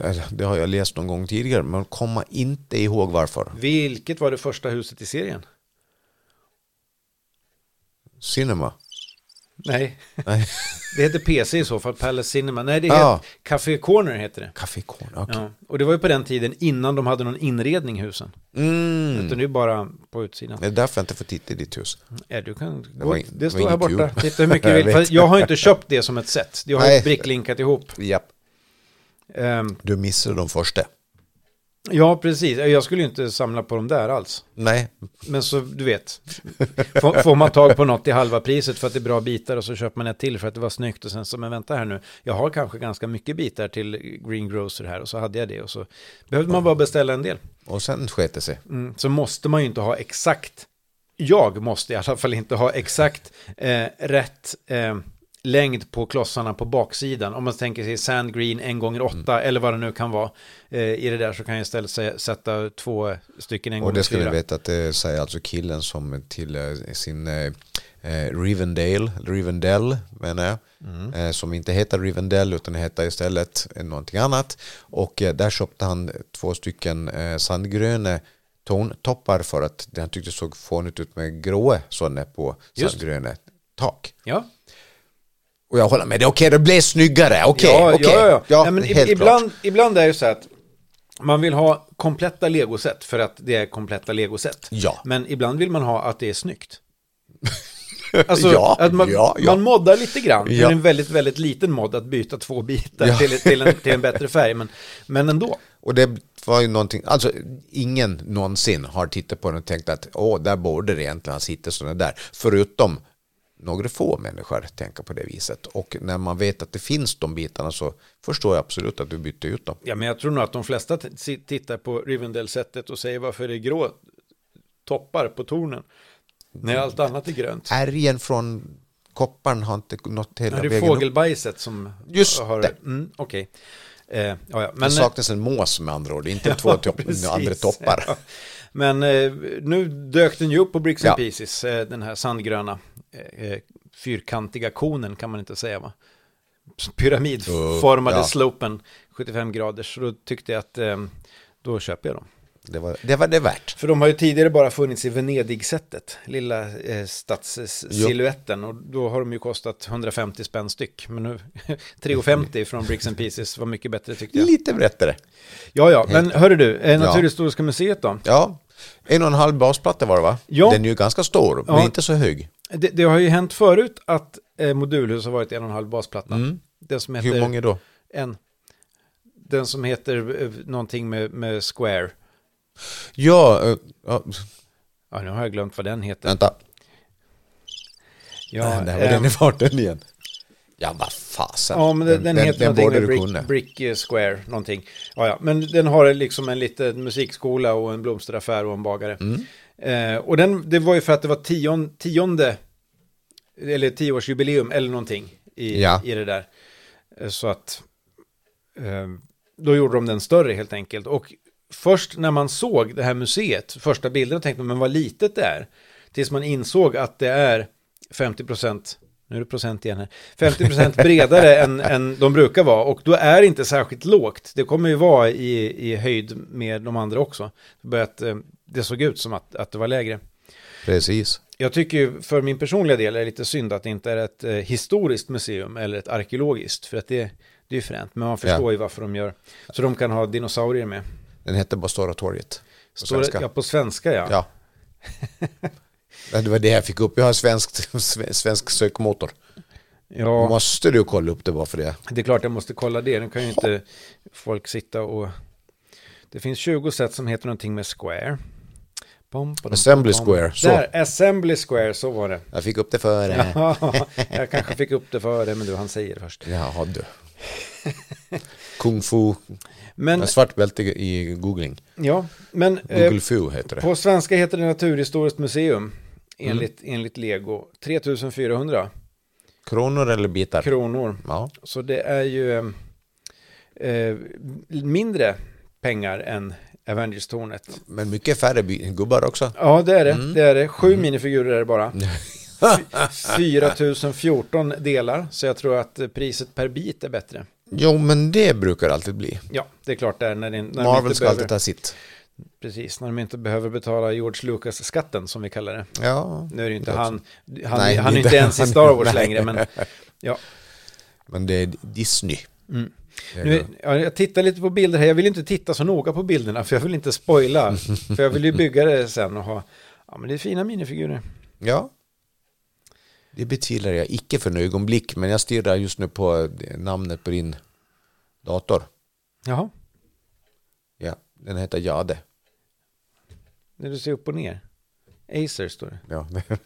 S2: eller, det har jag läst någon gång tidigare, men kommer inte ihåg varför.
S1: Vilket var det första huset i serien?
S2: Cinema.
S1: Nej,
S2: Nej,
S1: det heter PC i så fall, Palace Cinema. Nej, det heter
S2: Ja.
S1: Café Corner heter det.
S2: Café Corner. okej.
S1: Ja. Och det var ju på den tiden innan de hade någon inredning i husen.
S2: Mm.
S1: Utan det är bara på utsidan.
S2: Det är därför jag inte får titta i ditt hus.
S1: Ja, du kan
S2: Det
S1: det,
S2: var
S1: gå,
S2: in- det var
S1: det står här
S2: inget
S1: borta.
S2: kul.
S1: Titta hur mycket du
S2: Jag
S1: vill.
S2: vet.
S1: Fast jag har inte köpt det som ett set. Jag har
S2: Nej.
S1: ju bricklinkat ihop.
S2: Japp.
S1: Ehm,
S2: Du missade de första.
S1: ja, precis. Jag skulle ju inte samla på dem där alls.
S2: Nej,
S1: Men så, du vet, får, får man tag på något till halva priset för att det är bra bitar och så köper man ett till för att det var snyggt och sen så, men vänta här nu, jag har kanske ganska mycket bitar till Green Grocer här och så hade jag det och så behövde man bara beställa en del.
S2: och sen sket det sig.
S1: Mm, så måste man ju inte ha exakt, jag måste i alla fall inte ha exakt eh, rätt eh, längd på klossarna på baksidan. Om man tänker sig sand green en gånger
S2: Mm.
S1: åtta eller vad det nu kan vara. Eh, I det där så kan jag istället sä- sätta två stycken en
S2: Och
S1: gånger
S2: det ska ni
S1: fyra.
S2: veta att det säger alltså killen som till eh, sin eh, eh, Rivendale, Rivendell menar jag,
S1: Mm.
S2: eh, som inte heter Rivendell utan heter istället eh, någonting annat. Och eh, där köpte han två stycken eh, sandgröna tontoppar för att han tyckte det såg fånigt ut med gråa sådana på
S1: Just.
S2: sandgröna tak.
S1: Ja,
S2: Och jag håller med dig, okej det blev snyggare, okej,
S1: ja,
S2: okej.
S1: ja, ja. ja, men
S2: helt
S1: ib-
S2: klart.
S1: ibland, ibland är det så att man vill ha kompletta legosätt för att det är kompletta legosätt.
S2: Ja.
S1: Men ibland vill man ha att det är snyggt. Alltså,
S2: Ja,
S1: att man,
S2: ja, ja.
S1: man moddar lite grann,
S2: Ja.
S1: men en väldigt, väldigt liten mod att byta två bitar
S2: Ja.
S1: till, till, en, till en bättre färg, men, men ändå.
S2: Och det var ju någonting, alltså ingen någonsin har tittat på den och tänkt att åh, där borde det egentligen sitta sådana där. Förutom några få människor tänker på det viset. Och när man vet att det finns de bitarna så förstår jag absolut att du bytte ut dem.
S1: Ja, men jag tror nog att de flesta t- si- tittar på Rivendell-sättet och säger varför det är grå toppar på tornen när allt annat är grönt.
S2: Ärgen från kopparn har inte nått hela
S1: Ja, det är
S2: vägen upp.
S1: fågelbajset som
S2: Just
S1: har...
S2: det.
S1: Mm, Okej. Eh, ja, ja.
S2: Det
S1: Men,
S2: saknas en mås med andra ord, inte två topp,
S1: precis.
S2: andra toppar.
S1: Ja. Men eh, nu dök den ju upp på Bricks and
S2: Ja.
S1: Pieces, eh, den här sandgröna eh, eh, fyrkantiga konen kan man inte säga va? Pyramidformade
S2: Uh, ja.
S1: slopen, 75 graders. Så då tyckte jag att eh, då köper jag dem.
S2: Det, var, det var det värt.
S1: För de har ju tidigare bara funnits i Venedig-sättet, lilla eh, stadssilhuetten. Och då har de ju kostat 150 spänn styck. Men nu, 3,50 från Bricks and Pieces var mycket bättre tyckte jag.
S2: Lite brättare.
S1: Ja, ja, men hörru du, eh,
S2: Ja.
S1: Naturhistoriska museet då?
S2: Ja, en och en halv basplatta var det va?
S1: Ja.
S2: Den är ju ganska stor,
S1: Ja.
S2: men inte så hög.
S1: Det, det har ju hänt förut att eh, modulhus har varit en och en halv basplatta. Den som heter...
S2: Mm. Hur många då?
S1: En. Den som heter eh, någonting med, med Square.
S2: Ja, eh, ja,
S1: Ja, nu har jag glömt vad den heter.
S2: vänta.
S1: Ja,
S2: Nej, där var
S1: eh,
S2: den i farten igen. Ja, vad fasen.
S1: Ja, men den, den, heter
S2: den
S1: någonting
S2: borde
S1: med
S2: du kunna.
S1: Brick, Brick eh, Square, någonting. Ja, ja, men den har liksom en liten musikskola och en blomsteraffär och en bagare.
S2: Mm.
S1: Eh, och den, det var ju för att det var tion, tionde, eller tioårsjubileum eller någonting i,
S2: Ja.
S1: i det där. Eh, Så att eh, då gjorde de den större helt enkelt. Och först när man såg det här museet, första bilderna tänkte man, men vad litet det är. Tills man insåg att det är 50 procent, nu är det procent igen här, 50 procent bredare än, än de brukar vara. Och då är det inte särskilt lågt. Det kommer ju vara i, i höjd med de andra också. Det, börjat, eh, det såg ut som att, att det var lägre.
S2: Precis.
S1: Jag tycker ju för min personliga del är det lite synd att det inte är ett eh, historiskt museum eller ett arkeologiskt. För att det, det är ju fränt, men man förstår
S2: Ja.
S1: ju varför de gör. Så de kan ha dinosaurier med.
S2: Den hette bara Stora torget. På
S1: Står det-
S2: svenska.
S1: ja,
S2: Ja.
S1: på svenska ja.
S2: Det var det jag fick upp. Jag har svensk, svensk sökmotor.
S1: Ja, Mm.
S2: Måste du kolla upp det bara för det?
S1: det är klart jag måste kolla det. Nu kan ju inte folk sitta och... Det finns 20 sätt som heter någonting med Square. Pom, padom,
S2: Assembly
S1: padom.
S2: Square, så.
S1: Där, Assembly Square, så var det.
S2: Jag fick upp det för... Ja.
S1: Ja, jag kanske fick upp det före, men du han säger först.
S2: Jaha, du. Kung fu.
S1: Men,
S2: Men, svart bälte i googling.
S1: ja, men... eh,
S2: Google fu heter det.
S1: På svenska heter det Naturhistoriskt museum, enligt, enligt Lego. 3400
S2: Kronor eller bitar?
S1: kronor.
S2: Ja.
S1: Så det är ju eh, eh, mindre pengar än Avengers-tornet.
S2: Men mycket färre bi- gubbar också.
S1: Ja, det Mm. är det. det, är det. Sju minifigurer är det bara. Fy- 4014 delar, så jag tror att eh, priset per bit är bättre.
S2: Jo, men det brukar det alltid bli.
S1: Ja, det är klart det är när, det, när, de,
S2: Marvel
S1: inte
S2: ska alltid
S1: behöver,
S2: ta sitt.
S1: precis, när de inte behöver betala George Lucas-skatten som vi kallar det.
S2: Ja,
S1: Nu är det ju inte
S2: Det är
S1: han, han,
S2: Nej,
S1: han är
S2: inte
S1: inte ens i
S2: han.
S1: Star Wars
S2: Nej.
S1: längre, men ja.
S2: men det är Disney. Eh, Det är
S1: Mm. Nu, ja, jag tittar lite på bilder här, jag vill inte titta så noga på bilderna för jag vill inte spoila. för jag vill ju bygga det sen och ha, ja men det är fina minifigurer.
S2: Ja. Det betvivlar jag icke för en ögonblick, men jag stirrar just nu på eh, namnet på din dator.
S1: Jaha,
S2: Ja, den heter Jade.
S1: när du ser upp och ner. Acer står det.
S2: Ja.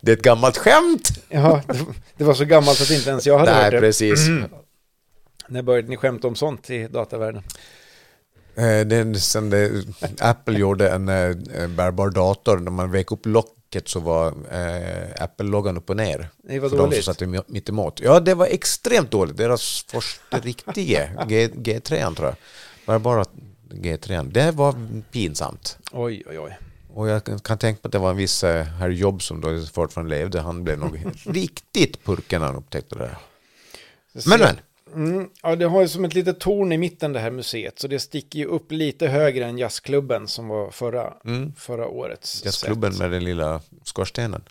S2: Det är ett gammalt skämt!
S1: Ja, det, det var så gammalt att inte ens jag hade
S2: Nej,
S1: hört det. Mm.
S2: precis.
S1: När började ni skämta om sånt i datavärlden?
S2: Eh, Det är sen det, Apple gjorde en eh, en bärbar dator när man vek upp lock, facket så var eh, Apple-loggan upp och ner.
S1: Det var
S2: för de som
S1: dåligt.
S2: satt i- mitt emot. Ja, det var extremt dåligt. Deras första riktiga G, G3 tror jag. Var bara G3. Det var pinsamt.
S1: Oj, oj, oj.
S2: Och jag kan kan tänka på att det var en viss eh, herr Jobb som då fortfarande levde. Han blev nog riktigt purken när han upptäckte det. här. Men men,
S1: Mm, ja, det har ju som ett litet torn i mitten det här museet, så det sticker ju upp lite högre än jazzklubben som var förra, förra årets.
S2: Mm. jazzklubben
S1: set.
S2: med den lilla skorstenen.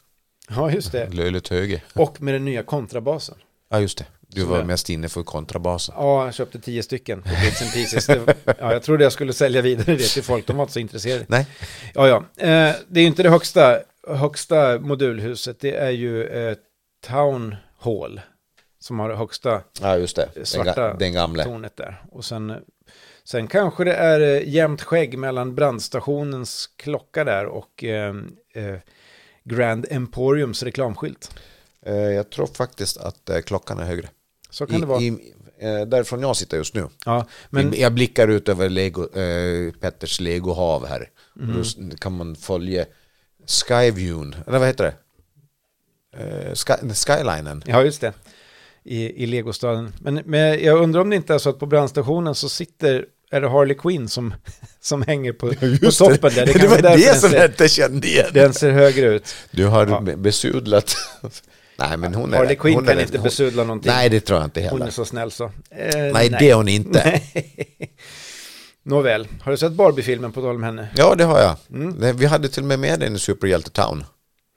S1: Ja, just det.
S2: Löjligt höger.
S1: Och med den nya kontrabasen.
S2: Ja, just det. Du
S1: Som
S2: var
S1: är-
S2: mest inne för kontrabasen.
S1: Ja, jag köpte tio stycken på Bits and Pieces. Det, ja, jag trodde jag skulle sälja vidare det till folk, de var inte så intresserade.
S2: Nej,
S1: Ja, ja. Eh, det är ju inte det högsta, högsta modulhuset, det är ju eh, Town Hall som har det högsta
S2: ja just det. Den,
S1: svarta
S2: ga- den gamle.
S1: tornet där. Och sen, sen kanske det är eh, jämnt skägg mellan brandstationens klocka där och eh, eh, Grand Emporiums reklamskylt.
S2: Eh, Jag tror faktiskt att eh, klockan är högre.
S1: Så kan det vara.
S2: I, i, eh, därifrån jag sitter just nu.
S1: ja, men,
S2: Jag blickar ut över Lego, eh, Petters legohav här. Och då s- kan man följa Skyviewn, eller vad heter det? Eh, sky, skylinen.
S1: ja, just det. I, i legostaden. Men, men jag undrar om det inte är så att på brandstationen så sitter, är det Harley Quinn som, som hänger på, på toppen där.
S2: det,
S1: kanske
S2: var
S1: är därför den
S2: det som jag
S1: ser,
S2: inte kände igen.
S1: Den ser högre ut.
S2: Du har
S1: Ja.
S2: be- besudlat. nej, men hon är
S1: Harley Quinn
S2: hon är
S1: kan
S2: rätt-
S1: inte
S2: hon-
S1: besudla någonting.
S2: Nej, det tror jag inte
S1: Hon är
S2: heller.
S1: så snäll så. Eh,
S2: Nej, det är hon inte.
S1: Nåväl, har du sett Barbie-filmen på tal om henne?
S2: Ja, det har jag. Det- Vi hade till och med med den i Superhjälte Town.
S1: Mm.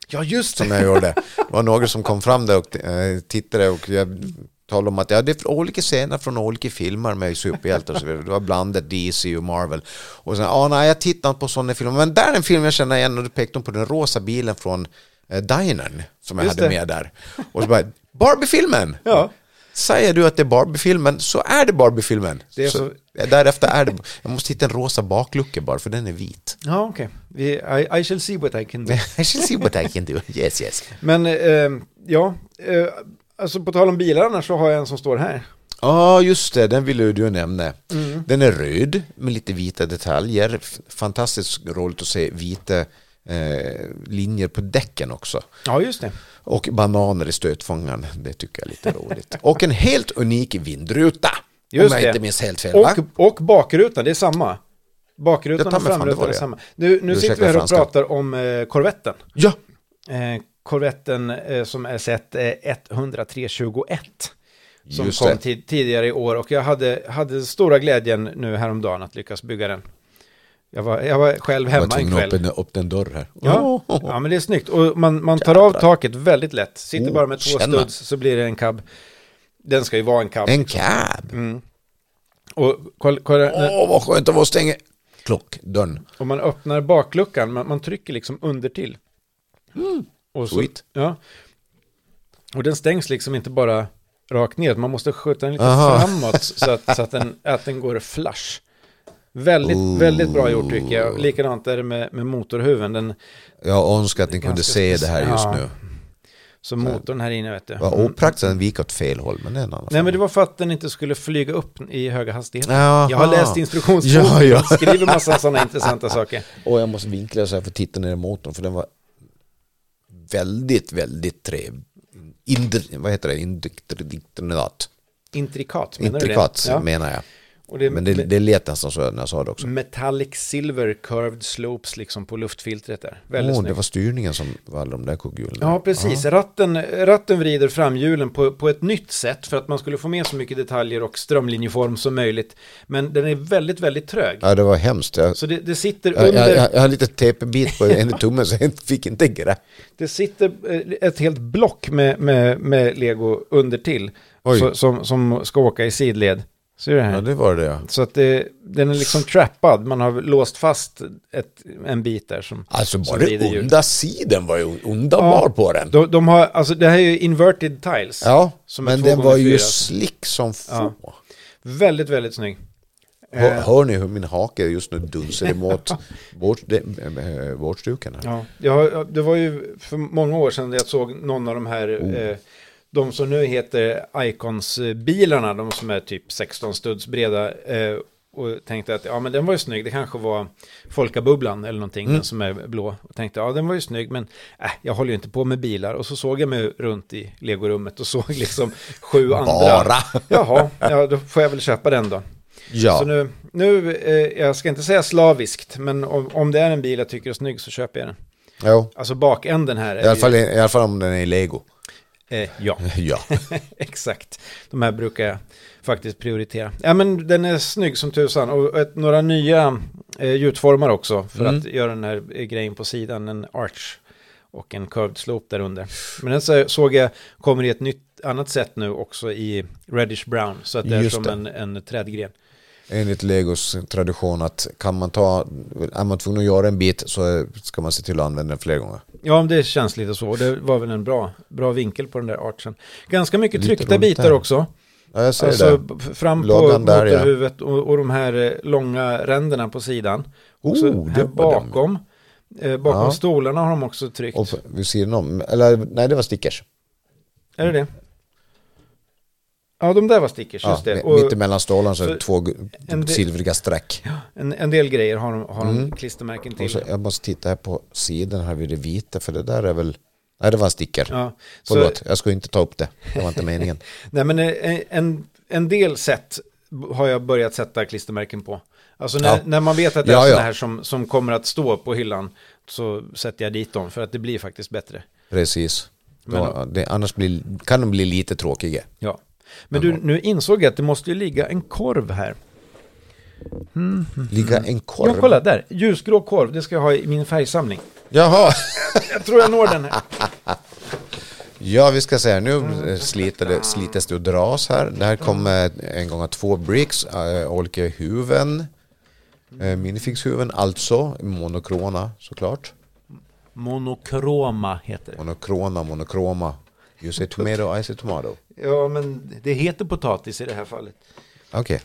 S1: Ja, just
S2: som jag gjorde. Det var några som kom fram där och eh, tittade och jag talade om att ja, det är olika scener från olika filmer med superhjältar och så vidare. Det var blandat DC och Marvel. Och sen, ja nej jag tittar inte på sådana filmer. Men där är en film jag känner igen och då pekade de på den rosa bilen från eh, Dinern som jag
S1: Just
S2: hade
S1: det.
S2: med där. Och så bara, Barbie-filmen!
S1: Ja.
S2: Säger du att det är Barbie-filmen så är det Barbie-filmen.
S1: Det är
S2: Så-
S1: så-
S2: Därefter är det... Jag måste hitta en rosa baklucka bara för den är vit.
S1: Ja, okej. Vi- I, I shall see what I can do.
S2: I shall see what I can do. Yes, yes.
S1: Men eh, ja, eh, alltså på tal om bilar annars så har jag en som står här.
S2: Ja, just det, den ville du nämna.
S1: Mm.
S2: Den är röd med lite vita detaljer. F- Fantastiskt roligt att se vita eh, linjer på däcken också.
S1: Ja, just det.
S2: Och bananer i stötfångaren, det tycker jag är lite roligt. Och en helt unik vindruta.
S1: Just
S2: om jag
S1: det.
S2: inte minns helt fel, va?
S1: Och, och bakrutan, det är samma.
S2: Jag
S1: Bakrutan
S2: tar
S1: och
S2: mig fan, det var
S1: framrutan är
S2: det.
S1: samma. Nu, nu
S2: Du
S1: sitter vi
S2: ursäktar
S1: här och
S2: franskan.
S1: pratar om eh, korvetten.
S2: Ja,
S1: Eh, korvetten eh, som är sett eh, 10321. Som
S2: Just
S1: kom
S2: det.
S1: tid, tidigare i år och jag hade, hade stora glädjen nu häromdagen att lyckas bygga den. Jag var, jag var själv
S2: jag var
S1: hemma en
S2: tvungen att
S1: kväll.
S2: öppna upp den dörr här.
S1: Ja. ja, men det är snyggt. Och man, man tar av taket väldigt lätt. Sitter
S2: Oh,
S1: bara med två
S2: tjena.
S1: studs så blir det en cab. Den ska ju vara en cab.
S2: En cab!
S1: Mm.
S2: Åh,
S1: Och kolla, kolla, när-
S2: vad skönt det var att stänga klockdörren.
S1: om man öppnar bakluckan, man, man trycker liksom under till. Och så,
S2: Sweet.
S1: ja. Och den stängs liksom inte bara rakt ner, man måste skjuta den lite
S2: Aha.
S1: framåt så att, så att, den, att den går flush. Väldigt, väldigt bra gjort tycker jag. Likadant är det med, med motorhuven. Den,
S2: Jag önskar att ni kunde
S1: Ganska
S2: se det här just
S1: spec-
S2: nu.
S1: så motorn här inne vet du.
S2: Vad opraktiskt att den gick åt fel håll, men det är en annan
S1: Nej, men det var för att den inte skulle flyga upp i höga hastigheter.
S2: Jaha.
S1: Jag har läst instruktionsboken,
S2: Ja, ja.
S1: skriver massa sådana intressanta saker.
S2: Och jag måste vinkla så här för att titta ner i motorn för den var väldigt, väldigt trevlig. Indri- vad heter det? Indikternadat.
S1: Intrikat, menar
S2: Intrikat
S1: du det?
S2: menar jag.
S1: Och det är
S2: Men det,
S1: me-
S2: det lät nästan så när jag sa det också.
S1: metallic silver curved slopes liksom på luftfiltret där. Väldigt
S2: Åh, det
S1: snyggt.
S2: var styrningen som var alla de där kugghjulen.
S1: Ja, precis. Ratten, ratten vrider framhjulen på, på ett nytt sätt för att man skulle få med så mycket detaljer och strömlinjeform som möjligt. Men den är väldigt, väldigt trög.
S2: Ja, det var hemskt. Jag,
S1: Så det, det sitter
S2: jag,
S1: under...
S2: jag, jag, jag har lite tejpbit på ena tummen så jag inte- fick inte grepp.
S1: Det sitter eh, ett helt block med, med, med lego under till
S2: Oj.
S1: så, som, som ska åka i sidled. Ser du det här?
S2: Ja, det var det ja.
S1: Så att det, den är liksom trappad, man har låst fast ett, en bit där som...
S2: Alltså
S1: som
S2: bara
S1: vrider hjul.
S2: onda sidan var ju underbar
S1: Ja.
S2: på den.
S1: De, de har, alltså det här är ju inverted tiles.
S2: Ja,
S1: Som är
S2: men
S1: två
S2: den
S1: gånger
S2: var ju
S1: fyra.
S2: slick som få.
S1: Väldigt, väldigt snygg.
S2: Hör,
S1: Eh.
S2: hör ni hur min hake just nu dunsar emot vårt- de- eh, vårdstuken? här?
S1: Ja. Jag, har- det var ju för många år sedan jag såg någon av de här,
S2: Oh.
S1: eh, de som nu heter Icons-bilarna, de som är typ 16 studs breda eh, och tänkte att ja, men den var ju snygg. Det kanske var Folkabubblan eller någonting,
S2: Mm.
S1: den som är blå. Och tänkte ja, den var ju snygg, men äh, jag håller ju inte på med bilar. Och så såg jag mig runt i legorummet och såg liksom sju andra.
S2: Bara.
S1: Jaha, ja, då får jag väl köpa den då.
S2: Ja.
S1: Så nu, nu eh, jag ska inte säga slaviskt, men om, om det är en bil jag tycker är snygg så köper jag den.
S2: Jo.
S1: Alltså bakänden här
S2: I,
S1: är
S2: alla fall, I alla fall om den är i lego.
S1: ju, eh, ja.
S2: Ja.
S1: Exakt. De här brukar jag faktiskt prioritera. Ja, men den är snygg som tusan och ett, några nya eh, gjutformar också för
S2: Mm.
S1: att göra den här eh, grejen på sidan, en arch och en curved slope där under. Men den så, såg jag kommer i ett nytt annat sätt nu också i reddish brown så att det är
S2: Just
S1: som
S2: det.
S1: en, en trädgren.
S2: Enligt Legos tradition att kan man ta, är man tvungen att göra en bit så ska man se till att använda den fler gånger.
S1: Ja, men det känns lite så och det var väl en bra, bra vinkel på den där archen. Ganska mycket
S2: Lite
S1: tryckta
S2: runt
S1: bitar
S2: där.
S1: också.
S2: Ja, jag säger
S1: Alltså
S2: det.
S1: f- fram på
S2: Lådan där, ja.
S1: motorhuvudet och, och de här eh, långa ränderna på sidan. och så
S2: Oh,
S1: här
S2: det var den.
S1: bakom, eh, bakom
S2: Ja.
S1: stolarna har de också tryckt.
S2: Och vid sidan om, eller nej det var stickers.
S1: Är det det? Ja, de där var stickers,
S2: Ja,
S1: just det.
S2: mi-
S1: Och
S2: Mitt emellan stålarna så är det
S1: så-
S2: två gu-
S1: en del-
S2: silvriga streck.
S1: en, en del grejer har de, har de klistermärken till.
S2: Mm. Och så, jag måste titta här på sidan här vid det vita för det där är väl, nej det var en sticker.
S1: Ja, så,
S2: Förlåt, jag ska inte ta upp det. Det var inte meningen.
S1: nej, men eh, en, en del sätt b- har jag börjat sätta klistermärken på. Alltså när,
S2: Ja.
S1: när man vet att det är
S2: Ja,
S1: sådana
S2: ja.
S1: här som, som kommer att stå på hyllan så sätter jag dit dem för att det blir faktiskt bättre.
S2: Precis. Då, det, annars blir, kan de bli lite tråkiga.
S1: Ja. Men du, nu insåg jag att det måste ju ligga en korv här.
S2: Ligga en
S1: Mm. Ja,
S2: korv.
S1: kolla där. Ljusgrå korv, det ska jag ha i min färgsamling.
S2: Jaha.
S1: Jag tror jag når den här.
S2: Ja, vi ska säga nu eh, sliter det, slites det och dras här. Det här kommer en gång att två bricks, äh, olika huvuden. Äh, minifixhuvuden, alltså monokrona såklart.
S1: Monokroma heter det.
S2: Monokrona, monokroma. You say tomato, I say tomato.
S1: Ja, men det heter potatis i det här fallet.
S2: Okej.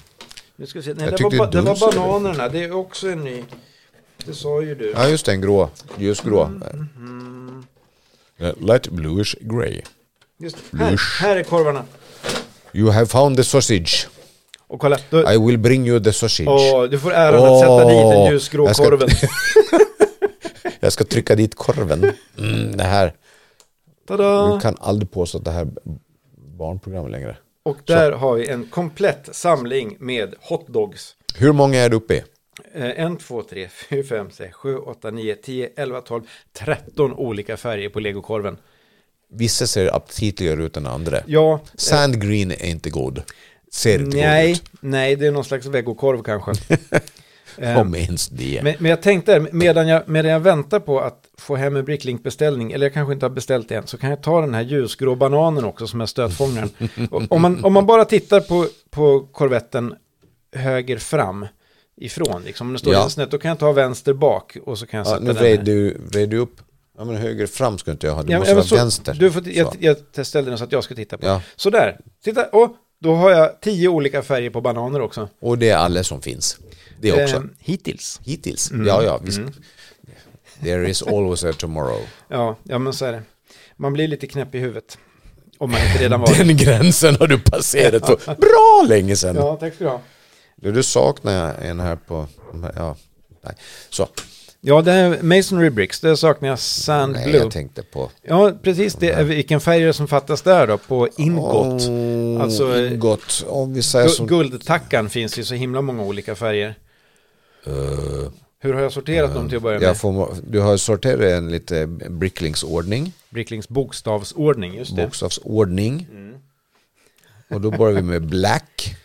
S1: Nu ska vi se. Nej,
S2: Jag
S1: det var,
S2: tyckte
S1: ba- det
S2: du
S1: var
S2: sa det.
S1: bananerna. Det är också en ny. Det sa ju du.
S2: Ja, just det, en grå, ljusgrå.
S1: Mm-hmm.
S2: Eh, Light bluish grey.
S1: Just det. här, här är korvarna.
S2: You have found the sausage.
S1: Och kolla. Då,
S2: I will bring you the sausage.
S1: Åh, du får äran att sätta dit den
S2: Åh,
S1: ljusgrå
S2: jag ska-
S1: korven.
S2: Jag ska trycka dit korven. Mm, det här.
S1: Tada!
S2: Du kan aldrig påstå att det här är barnprogram längre.
S1: Och där har vi en komplett samling med hotdogs.
S2: Hur många är du uppe i?
S1: Eh, en, två, tre, fyra, fem, sex, sju, åtta, nio, tio, elva, tolv, tretton olika färger på legokorven.
S2: Vissa ser aptitligare ut än andra.
S1: Ja,
S2: Sand green är inte god. Ser inte god
S1: nej,
S2: ut.
S1: nej, det är någon slags vegokorv kanske. Eh,
S2: Om ens det.
S1: Men, men jag tänkte, medan jag, medan jag väntar på att få hem en Bricklink-beställning, eller jag kanske inte har beställt det än, så kan jag ta den här ljusgrå bananen också som är stötfångaren. Och om, man, om man bara tittar på, på korvetten höger fram ifrån, liksom, om den står
S2: Ja.
S1: snett, då kan jag ta vänster bak och så kan jag
S2: ja,
S1: sätta
S2: nu
S1: den här.
S2: vred du, vred du upp. Ja, men höger fram ska inte jag ha. Det
S1: Ja,
S2: måste
S1: men
S2: vara
S1: så-
S2: vänster.
S1: Du får, jag,
S2: Så.
S1: jag ställde den så att jag ska titta på.
S2: Ja.
S1: Sådär, titta, och då har jag tio olika färger på bananer också.
S2: Och det är alla som finns. Det också.
S1: Ehm, Mm. hittills.
S2: Hittills. Ja, ja, visst. There is always a tomorrow.
S1: Ja, ja, men så är det. Man blir lite knäpp i huvudet. Om man inte redan var det.
S2: Den gränsen har du passerat för bra länge sedan.
S1: Ja, tack ska du ha.
S2: Du, du saknar jag en här på... Ja, nej. Så.
S1: Ja, det här Masonry Bricks, det saknar jag Sand
S2: Nej,
S1: Blue.
S2: jag tänkte på...
S1: Ja, precis. Det är vilken färg är det som fattas där då, på ingot.
S2: Åh,
S1: Alltså, eh,
S2: gott. Om vi säger
S1: Gu-
S2: som...
S1: Guldtackan finns ju så himla många olika färger.
S2: Eh,
S1: Hur har jag sorterat dem till att börja med?
S2: Jag får, du har sorterat en lite bricklingsordning,
S1: Bricklings bokstavsordning, just det. Mm.
S2: bokstavsordning. Och då börjar vi med black.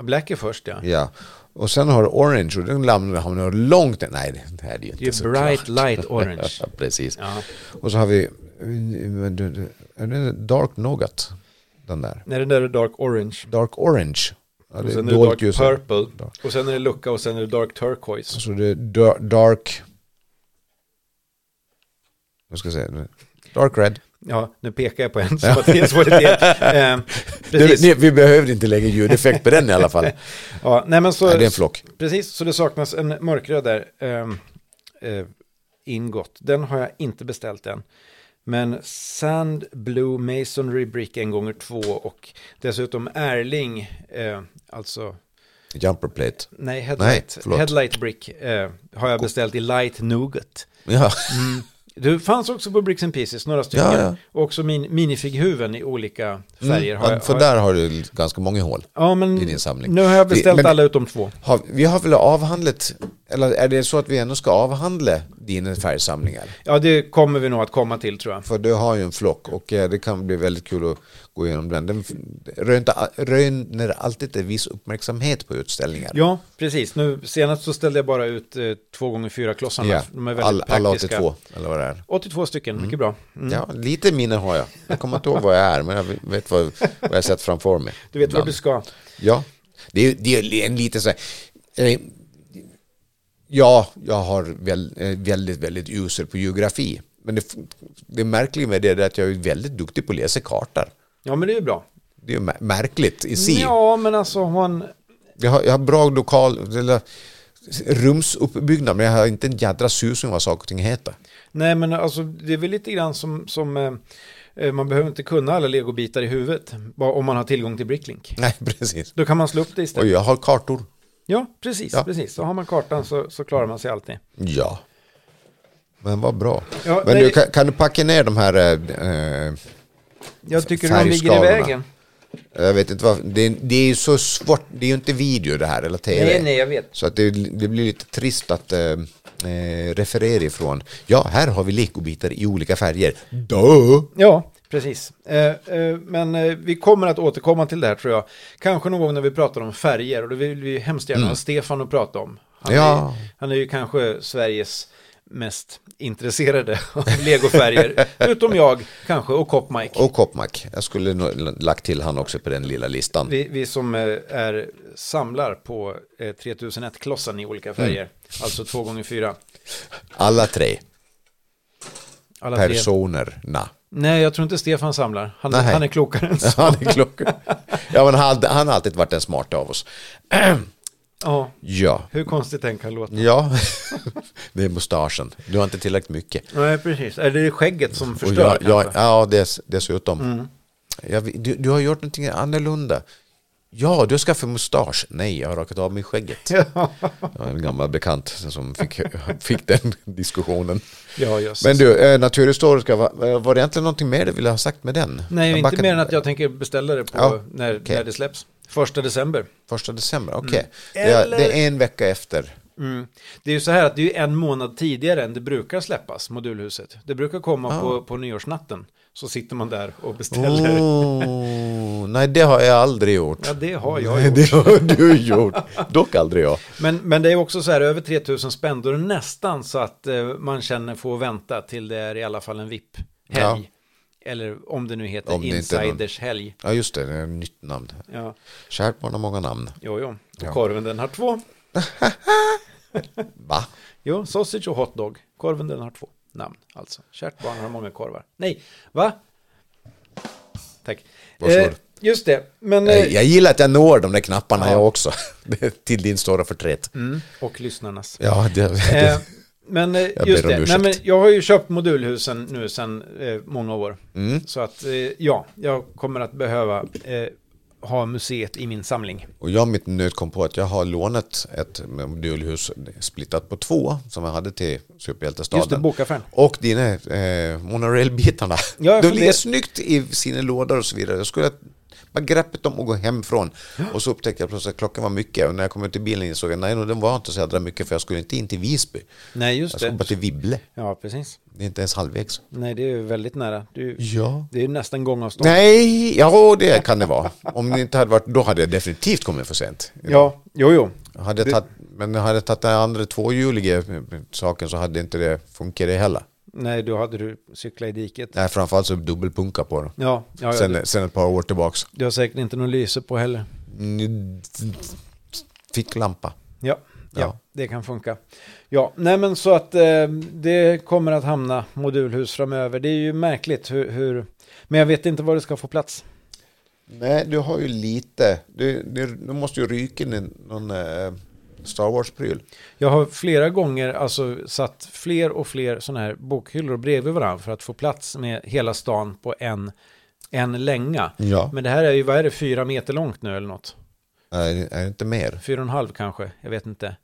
S1: Black är först, ja.
S2: Ja. Och sen har du orange och den lamnar- hamnar långt ner. Nej, det här är ju inte
S1: Det är ju
S2: så
S1: bright
S2: klart.
S1: light orange.
S2: Ja, precis.
S1: Ja.
S2: Och så har vi... men du- du- Är det dark nougat? Den där.
S1: Nej, den där är dark orange.
S2: Dark orange. Ja,
S1: Och
S2: det är
S1: sen är det dark
S2: dolt ljus.
S1: purple.
S2: Dark.
S1: Och sen är det lucka och sen är det dark turquoise.
S2: Så det är dar- dark... Vad ska jag säga? Dark red.
S1: Ja, nu pekar jag på en som har tillsvårighet. eh, precis.
S2: Du, ni, vi behövde inte lägga ljudeffekt på den i alla fall.
S1: Ja, nej, men så,
S2: Nej, det är en flock.
S1: Precis, så det saknas en mörkröd där. ehm, eh, ingått. Den har jag inte beställt än. Men Sand Blue Masonry Brick en gånger två och dessutom Erling, eh, alltså
S2: Jumper plate.
S1: Nej, headlight,
S2: Nej, förlåt.
S1: headlight brick eh, har jag beställt i light nougat.
S2: Ja,
S1: Mm. Du fanns också på Bricks and Pieces, några stycken.
S2: Ja, ja.
S1: Och också min, minifighuven i olika färger. har jag,
S2: Mm. för
S1: har jag-
S2: där har du ganska många hål.
S1: ja, men
S2: i din samling.
S1: nu har jag
S2: Det-
S1: beställt
S2: men-
S1: alla utom två.
S2: Har, vi har väl avhandlat, eller är det så att vi ändå ska avhandla dina färgsamlingar?
S1: Ja, det kommer vi nog att komma till tror jag.
S2: För du har ju en flock och eh, det kan bli väldigt kul att gå igenom den. Den f- rönta- röner alltid en viss uppmärksamhet på utställningar.
S1: Ja, precis. Nu, senast så ställde jag bara ut eh, två gånger fyra klossarna.
S2: Ja,
S1: De är väldigt
S2: all, alla
S1: praktiska.
S2: 82, eller vad det är.
S1: 82 stycken, mycket bra. Mm.
S2: Ja, lite minne har jag. Jag kommer inte ihåg vad jag är, men jag vet vad, vad jag sett framför mig.
S1: Du vet
S2: ibland.
S1: vad du ska.
S2: Ja, det är, det är en liten så här, eh, Ja, jag har väl, eh, väldigt, väldigt usel på geografi. Men det, det märkliga med det är att jag är väldigt duktig på att läsa kartor.
S1: Ja, men det är ju bra.
S2: Det är ju mär- märkligt i sig.
S1: Ja, men alltså har man...
S2: Jag, har, jag har bra lokal, eller rumsuppbyggnad, men jag har inte en jädra susning vad saker och ting heter.
S1: Nej, men alltså det är väl lite grann som... som eh, eh, man behöver inte kunna alla legobitar i huvudet. Bara om man har tillgång till Bricklink.
S2: Nej, precis.
S1: Då kan man slå upp det istället.
S2: Och jag har kartor.
S1: Ja, precis.
S2: Ja.
S1: precis. Så har man kartan så, så klarar man sig alltid.
S2: Ja. Men vad bra.
S1: Ja,
S2: men
S1: nej.
S2: du, kan, kan du packa ner de här... eh, Eh,
S1: Jag tycker de ligger i
S2: Färgskalorna.
S1: vägen.
S2: jag vet inte vad... Det, är- det är ju så svårt. Det är ju inte video det här, eller tv.
S1: Nej, nej, jag vet.
S2: Så att det, det blir lite trist att eh, eh, referera ifrån. Ja, här har vi legobitar i olika färger. Dö!
S1: Ja, precis. Eh, eh, men eh, vi kommer att återkomma till det här tror jag. Kanske någon gång när vi pratar om färger. Och det vill vi ju hemskt gärna ha Stefan att prata om. Han,
S2: Mm. Ja.
S1: är, han är ju kanske Sveriges mest intresserade av legofärger. utom jag kanske och Copmike.
S2: Och Kopmak. Jag skulle nog lagt till han också på den lilla listan.
S1: Vi, vi som eh, är, samlar på eh, 3001-klossarna i
S2: Mm.
S1: olika färger. Alltså 2 gånger 4
S2: Alla tre
S1: Alla tre.
S2: personerna.
S1: Nej, jag tror inte Stefan samlar. Han,
S2: Nej.
S1: han är klokare än så.
S2: Han är klockan. Ja, men han, han har alltid varit den smarta av oss.
S1: Ja,
S2: Ja.
S1: hur konstigt den kan låta.
S2: Ja, det är mustaschen. Du har inte tillräckligt mycket.
S1: Nej, precis. Är det skägget som
S2: Och
S1: förstör?
S2: jag, jag,
S1: kanske? Mm.
S2: ja, dess, dessutom. Jag vet- du, du har gjort någonting annorlunda. Ja, du har skaffat mustasch. Nej, jag har rakat av mig skägget.
S1: ja.
S2: Det var en gammal bekant som fick, fick den diskussionen.
S1: ja, just.
S2: Men du, eh, naturhistoriska, var, var det egentligen någonting mer du ville ha sagt med den?
S1: Nej,
S2: Jag
S1: inte
S2: backade-
S1: mer än att jag tänker beställa det på
S2: Ja,
S1: när,
S2: okej.
S1: när det släpps. Första december.
S2: Första december, okej. Det,
S1: Mm. Eller-
S2: är- det är en vecka efter.
S1: Mm. Det är ju så här att det är ju en månad tidigare än det brukar släppas, modulhuset. Det brukar komma
S2: Ah.
S1: på, på nyårsnatten. Så sitter man där och beställer.
S2: Oh, nej, det har jag aldrig gjort.
S1: Ja, det har jag
S2: Nej,
S1: gjort.
S2: det har du gjort. Dock aldrig jag.
S1: Men, men det är också så här över 3000 spänn, då är det nästan så att eh, man känner får vänta till det är i alla fall en VIP-helg. Eller om det nu heter
S2: Om det inte är någon-
S1: insiders-helg.
S2: Ja, just det. Det är ett nytt namn.
S1: Ja,
S2: Kärt barn har många namn.
S1: jo, jo. Och
S2: Ja.
S1: korven den har två.
S2: Va?
S1: Jo, sausage och hotdog. Korven den har två namn alltså. Kärt barn har många korvar. Nej, va? Tack. Eh,
S2: Varsågod.
S1: just det, men... eh,
S2: Jag, jag gillar att jag når de där knapparna
S1: Ja.
S2: jag också. Det är Till din stora förtret.
S1: Mm, och lyssnarnas.
S2: Ja, det, det,
S1: Eh, men eh,
S2: Jag
S1: just
S2: ber om
S1: det, Nej,
S2: ursäkt.
S1: men jag har ju köpt modulhusen nu sedan eh, många år.
S2: Mm.
S1: Så att eh, ja, jag kommer att behöva eh, ha museet i min samling.
S2: Och jag mitt nöd kom på att jag har lånat ett modulhus splittat på två som jag hade till Superhjältestaden.
S1: Just det, bokaffären.
S2: Och dina eh, monorailbitarna.
S1: Ja, jag
S2: de
S1: funderar-
S2: ligger snyggt i sina lådor och så vidare. Jag skulle bara greppet dem och gå hemifrån. Och så upptäckte jag plötsligt att klockan var mycket. Och när jag kom ut till bilen insåg jag nej, no, den var inte så jädra mycket för jag skulle inte in till Visby.
S1: Nej, just
S2: Jag skulle
S1: det.
S2: bara till Vibble.
S1: Ja, precis.
S2: Det är inte ens halvvägs.
S1: Nej, det är ju väldigt nära. Det är ju,
S2: Ja.
S1: det är ju nästan gångavstånd.
S2: Nej, ja det kan det vara. Om det inte hade varit, då hade jag definitivt kommit för sent.
S1: Ja, jo, jo.
S2: Hade jag tagit, men hade jag tagit den andra tvåhjuliga saken så hade inte det funkat det heller.
S1: Nej, då hade du cyklat i diket.
S2: Nej, framförallt så dubbelpunka på den.
S1: Ja, ja, ja du,
S2: Sen, sen ett par år tillbaks.
S1: du har säkert inte någon lyse på heller.
S2: Mm, Ficklampa.
S1: Ja, ja,
S2: Ja.
S1: det kan funka. Ja, nej men så att eh, det kommer att hamna modulhus framöver. Det är ju märkligt hur, hur men jag vet inte var det ska få plats.
S2: Nej, du har ju lite. Du, du, du måste ju ryka in någon eh, Star Wars-pryl.
S1: Jag har flera gånger alltså satt fler och fler sådana här bokhyllor bredvid varandra för att få plats med hela stan på en, en länga.
S2: Ja.
S1: Men det här är ju, vad är det, fyra meter långt nu eller något?
S2: Är, är det inte mer?
S1: Fyra och en halv kanske, jag vet inte.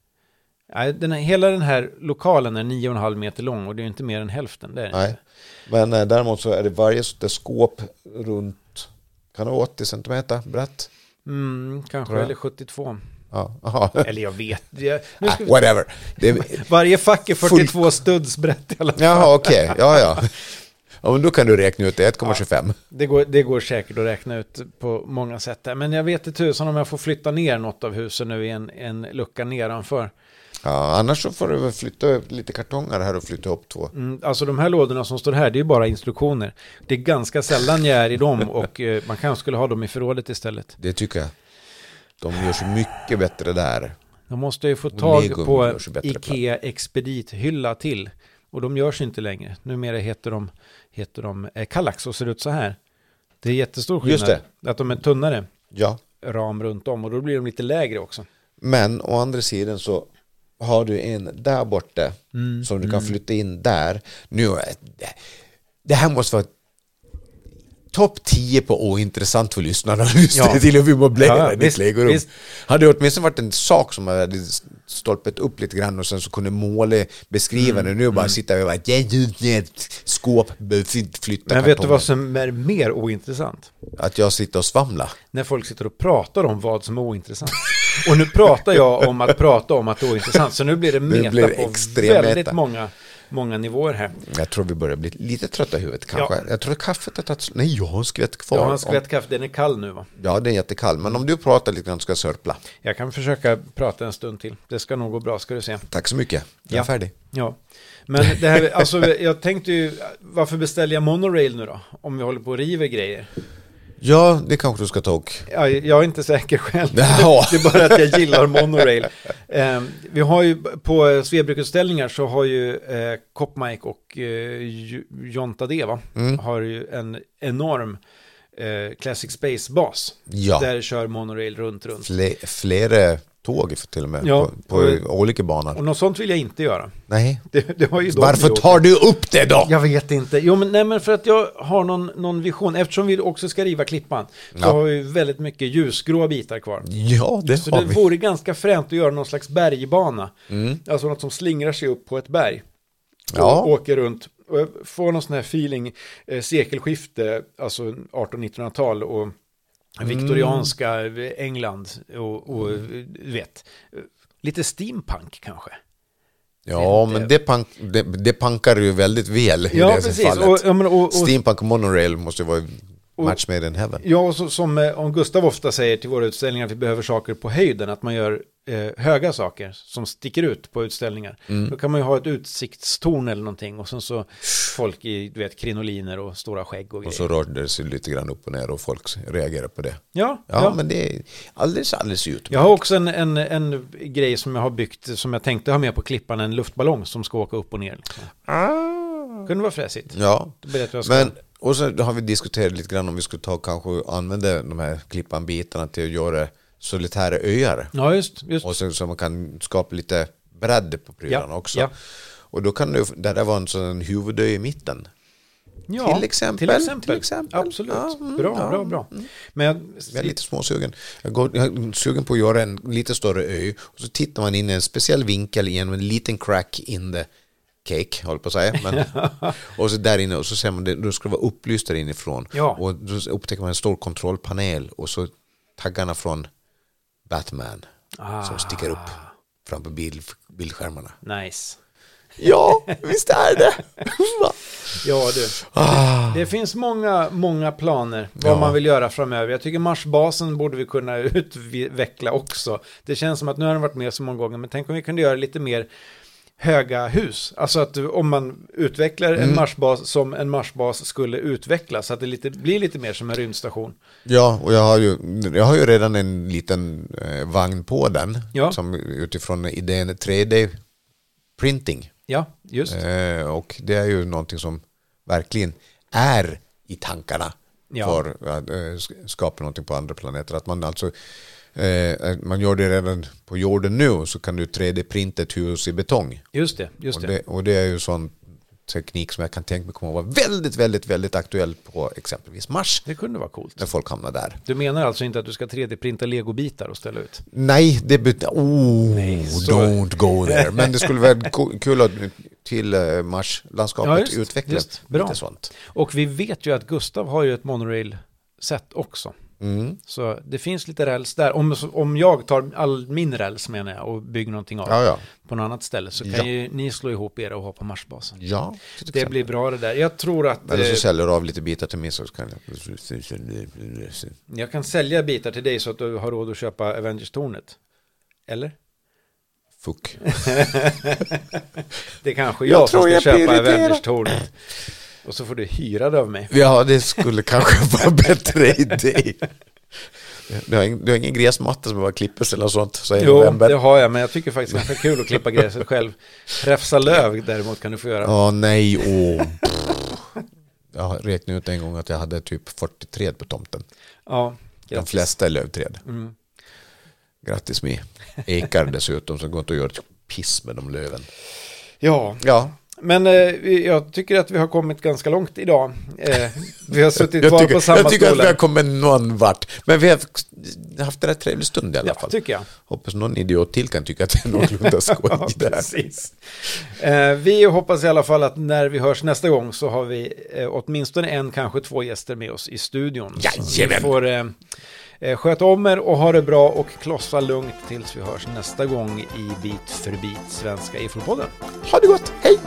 S1: Nej, den här, hela den här lokalen är nio och en halv meter lång och det är ju inte mer än hälften. Det är det
S2: Nej.
S1: inte.
S2: Men eh, däremot så är det varje sånt där skåp runt, kan det vara 80 centimeter brett?
S1: Mm, kanske,
S2: Tror jag.
S1: eller 72.
S2: Ja, aha.
S1: Eller jag vet. Jag, nu
S2: Ah,
S1: ska vi,
S2: whatever. Det,
S1: varje fack är 42 studs brett i alla fall.
S2: Jaha, okej. Ja, ja. ja men då kan du räkna ut det. 1,25.
S1: Det går, det går säkert att räkna ut på många sätt. Där. Men jag vet inte tusan om jag får flytta ner något av husen nu i en, en lucka nedanför.
S2: Ja, annars så får du väl flytta upp lite kartonger här och flytta upp två.
S1: Mm, alltså de här lådorna som står här, det är ju bara instruktioner. Det är ganska sällan jag är i dem och eh, man kanske skulle ha dem i förrådet istället.
S2: Det tycker jag. De gör så mycket bättre där.
S1: De måste ju få
S2: Och
S1: tag
S2: Lego
S1: på
S2: görs ju bättre
S1: Ikea Expedit-hylla till. Och de görs inte längre. Numera heter de, heter de eh, Kallax och ser ut så här. Det är jättestor skillnad.
S2: Just
S1: Att de är tunnare
S2: Ja.
S1: ram runt om och då blir de lite lägre också.
S2: Men å andra sidan så har du en där borta
S1: Mm.
S2: som du kan flytta in där. Nu, är det- det här måste vara topp 10 på ointressant för lyssnarna att lyssna
S1: Ja.
S2: till hur vi möblerar
S1: Ja, ja,
S2: ditt
S1: visst,
S2: legorum.
S1: visst.
S2: Hade det åtminstone varit en sak som hade stolpat upp lite grann och sen så kunde måle beskriva
S1: Mm.
S2: det. Nu bara sitta och bara, "Ja, ja, ja, skåp, flytta
S1: Men vet du
S2: kartonger.
S1: vad som är mer ointressant?
S2: Att jag sitter och svamlar.
S1: När folk sitter och pratar om vad som är ointressant. Och nu pratar jag om att prata om att det är ointressant. Så nu blir det meta
S2: blir det
S1: på
S2: extrem
S1: väldigt
S2: meta.
S1: Många, många nivåer här.
S2: Jag tror vi börjar bli lite trötta i huvudet kanske.
S1: Ja.
S2: Jag tror att kaffet har tagit slut. Nej, jag har en skvätt kvar.
S1: Jag har en skvätt kaffe, den är kall nu va?
S2: Om- Ja, den är jättekall. Men om du pratar lite grann ska jag sörpla.
S1: Jag kan försöka prata en stund till. Det ska nog gå bra, ska du se.
S2: Tack så mycket. Jag är
S1: Ja.
S2: färdig.
S1: Ja, men det här, alltså jag tänkte ju, varför beställer jag monorail nu då? Om vi håller på och river grejer.
S2: Ja, det kanske du ska ta och...
S1: Ja, jag är inte säker själv.
S2: Jaha.
S1: Det är bara att jag gillar monorail. Eh, vi har ju på eh, Svebrukutställningar så har ju eh, Copmike och eh, J- John Tadeva
S2: Mm.
S1: har ju en enorm eh, Classic Space-bas.
S2: Ja.
S1: Där kör monorail runt, runt.
S2: Fle- flera tåg för till och med
S1: Ja,
S2: på, på
S1: och-
S2: olika banor.
S1: Och något sånt vill jag inte göra.
S2: Nej.
S1: Det, det har ju de
S2: Varför
S1: gjort.
S2: tar du upp det då?
S1: Jag vet inte. Jo, men, nej, men för att jag har någon, någon vision. Eftersom vi också ska riva klippan så
S2: Ja.
S1: har vi väldigt mycket ljusgrå bitar kvar.
S2: Ja, det
S1: Så
S2: har
S1: det
S2: vi. Mm.
S1: vore ganska fränt att göra någon slags bergbana. Alltså något som slingrar sig upp på ett berg. Och
S2: Ja.
S1: åker runt. Och jag får någon sån här feeling, eh, sekelskifte, alltså 1800-1900-tal och
S2: Mm.
S1: viktorianska eh, England och, och du vet. eh, Lite steampunk kanske.
S2: Ja, men det, pank, det, det pankar ju väldigt väl i
S1: Ja,
S2: det
S1: precis.
S2: fallet.
S1: Och- ja, men och- och-
S2: Steampunk och Monorail måste ju vara match made in heaven.
S1: Ja, och så, som eh, om Gustav ofta säger till våra utställningar att vi behöver saker på höjden, att man gör eh, höga saker som sticker ut på utställningar.
S2: Mm.
S1: Då kan man ju ha ett utsiktstorn eller någonting och sen så folk i, du vet, krinoliner och stora skägg och grejer.
S2: Och så rörde det sig lite grann upp och ner och folk reagerade på det.
S1: ja,
S2: Ja,
S1: ja.
S2: men det är alldeles, alldeles utmärkt.
S1: Jag har också en, en, en grej som jag har byggt, som jag tänkte ha med på klippan, en luftballong som ska åka upp och ner. Liksom. Kunde vara fräsigt.
S2: Ah. Ja,
S1: Då berättar jag
S2: men och så har vi diskuterat lite grann om vi skulle ta och kanske använda de här klippanbitarna till att göra solitära öar.
S1: Ja, just, just.
S2: Och så, så man kan skapa lite bredd på prylarna
S1: Ja,
S2: också.
S1: ja.
S2: Och då kan du, där det var en sån huvudö i mitten.
S1: Ja,
S2: till exempel,
S1: Till exempel.
S2: till exempel.
S1: Absolut.
S2: Ja, mm,
S1: bra,
S2: ja,
S1: bra, bra. Men
S2: Jag är lite småsugen. Jag, går, jag är sugen på att göra en lite större ö. Och så tittar man in i en speciell vinkel genom en liten crack in the cake, håller på att säga. Men, och så där inne och så ser man det, då ska det vara upplyst där inifrån.
S1: Ja.
S2: Och då upptäcker man en stor kontrollpanel och så taggarna från Batman
S1: Ah,
S2: som sticker upp framför bild, bildskärmarna.
S1: nice.
S2: Ja, visst är det! Va?
S1: Ja du, det, det finns många, många planer vad
S2: Ja.
S1: man vill göra framöver. Jag tycker Marsbasen borde vi kunna utveckla också. Det känns som att nu har den varit med så många gånger, men tänk om vi kunde göra lite mer höga hus. Alltså att du- om man utvecklar en Marsbas som en Marsbas skulle utvecklas, så att det lite, blir lite mer som en rymdstation.
S2: Ja, och jag har ju, jag har ju redan en liten eh, vagn på den.
S1: Ja.
S2: Som utifrån idén 3D-printing.
S1: Ja, just.
S2: Eh, och det är ju någonting som verkligen är i tankarna
S1: Ja.
S2: för att eh, sk- skapa någonting på andra planeter. Att man alltså, eh, man gör det redan på jorden nu så kan du 3D-printa ett hus i betong.
S1: Just det, just
S2: Och
S1: det.
S2: det, och det är ju sån teknik som jag kan tänka mig kommer att vara väldigt, väldigt, väldigt aktuell på exempelvis Mars.
S1: Det kunde vara coolt.
S2: När folk hamnar där.
S1: Du menar alltså inte att du ska 3D-printa legobitar och ställa ut?
S2: Nej, det betyder... Oh,
S1: Nej, så-
S2: don't go there. Men det skulle vara ko- kul att till eh,
S1: Ja,
S2: Mars-landskapet
S1: just,
S2: utvecklas.
S1: just. Bra.
S2: Lite sånt.
S1: Och vi vet ju att Gustav har ju ett monorail-set också.
S2: Mm.
S1: Så det finns lite räls där. Om, om jag tar all min räls menar jag och bygger någonting av
S2: Ja, ja.
S1: på något annat ställe så kan
S2: Ja.
S1: ju ni slå ihop era och ha på Marsbasen.
S2: Ja, till
S1: Det
S2: exempel.
S1: blir bra det där. Jag tror att
S2: Eller så
S1: eh,
S2: säljer du av lite bitar till mig så kan jag...
S1: jag kan sälja bitar till dig så att du har råd att köpa Avengers-tornet. Eller?
S2: Fuck.
S1: Det kanske
S2: Jag
S1: jag, som
S2: tror
S1: ska
S2: jag
S1: köpa
S2: prioriterar.
S1: Avengers-tornet. Och så får du hyra det av mig.
S2: Ja, det skulle kanske vara en bättre idé. Du har, ingen, du har ingen gräsmatta som bara klipper sig eller sånt, så i
S1: Jo,
S2: november.
S1: det har jag, men jag tycker faktiskt att det är kul att klippa gräset själv. Räfsa löv däremot kan du få göra.
S2: Ja, nej, åh. Jag räknade ut en gång att jag hade typ 40 träd på tomten.
S1: Ja,
S2: De
S1: grattis. Mm.
S2: flesta är lövträd. Grattis mig. Ekar dessutom, som går inte att göra ett piss med de löven.
S1: ja
S2: Ja,
S1: men eh, vi- jag tycker att vi har kommit ganska långt idag. Eh, vi har suttit
S2: jag
S1: kvar
S2: tycker,
S1: på samma
S2: jag tycker att vi
S1: stolar.
S2: har kommit någon vart. Men vi har haft en rätt trevlig stund i alla
S1: Ja,
S2: fall.
S1: tycker jag.
S2: Hoppas någon idiot till kan tycka att det är någorlunda skoj där.
S1: precis. Eh, vi hoppas i alla fall att när vi hörs nästa gång så har vi eh, åtminstone en, kanske två gäster med oss i studion. Så
S2: Jajamän.
S1: Ni får eh, eh, sköta om er och ha det bra och klossa lugnt tills vi hörs nästa gång i Bit för bit Svenska EFO-podden.
S2: Ha det gott, hej!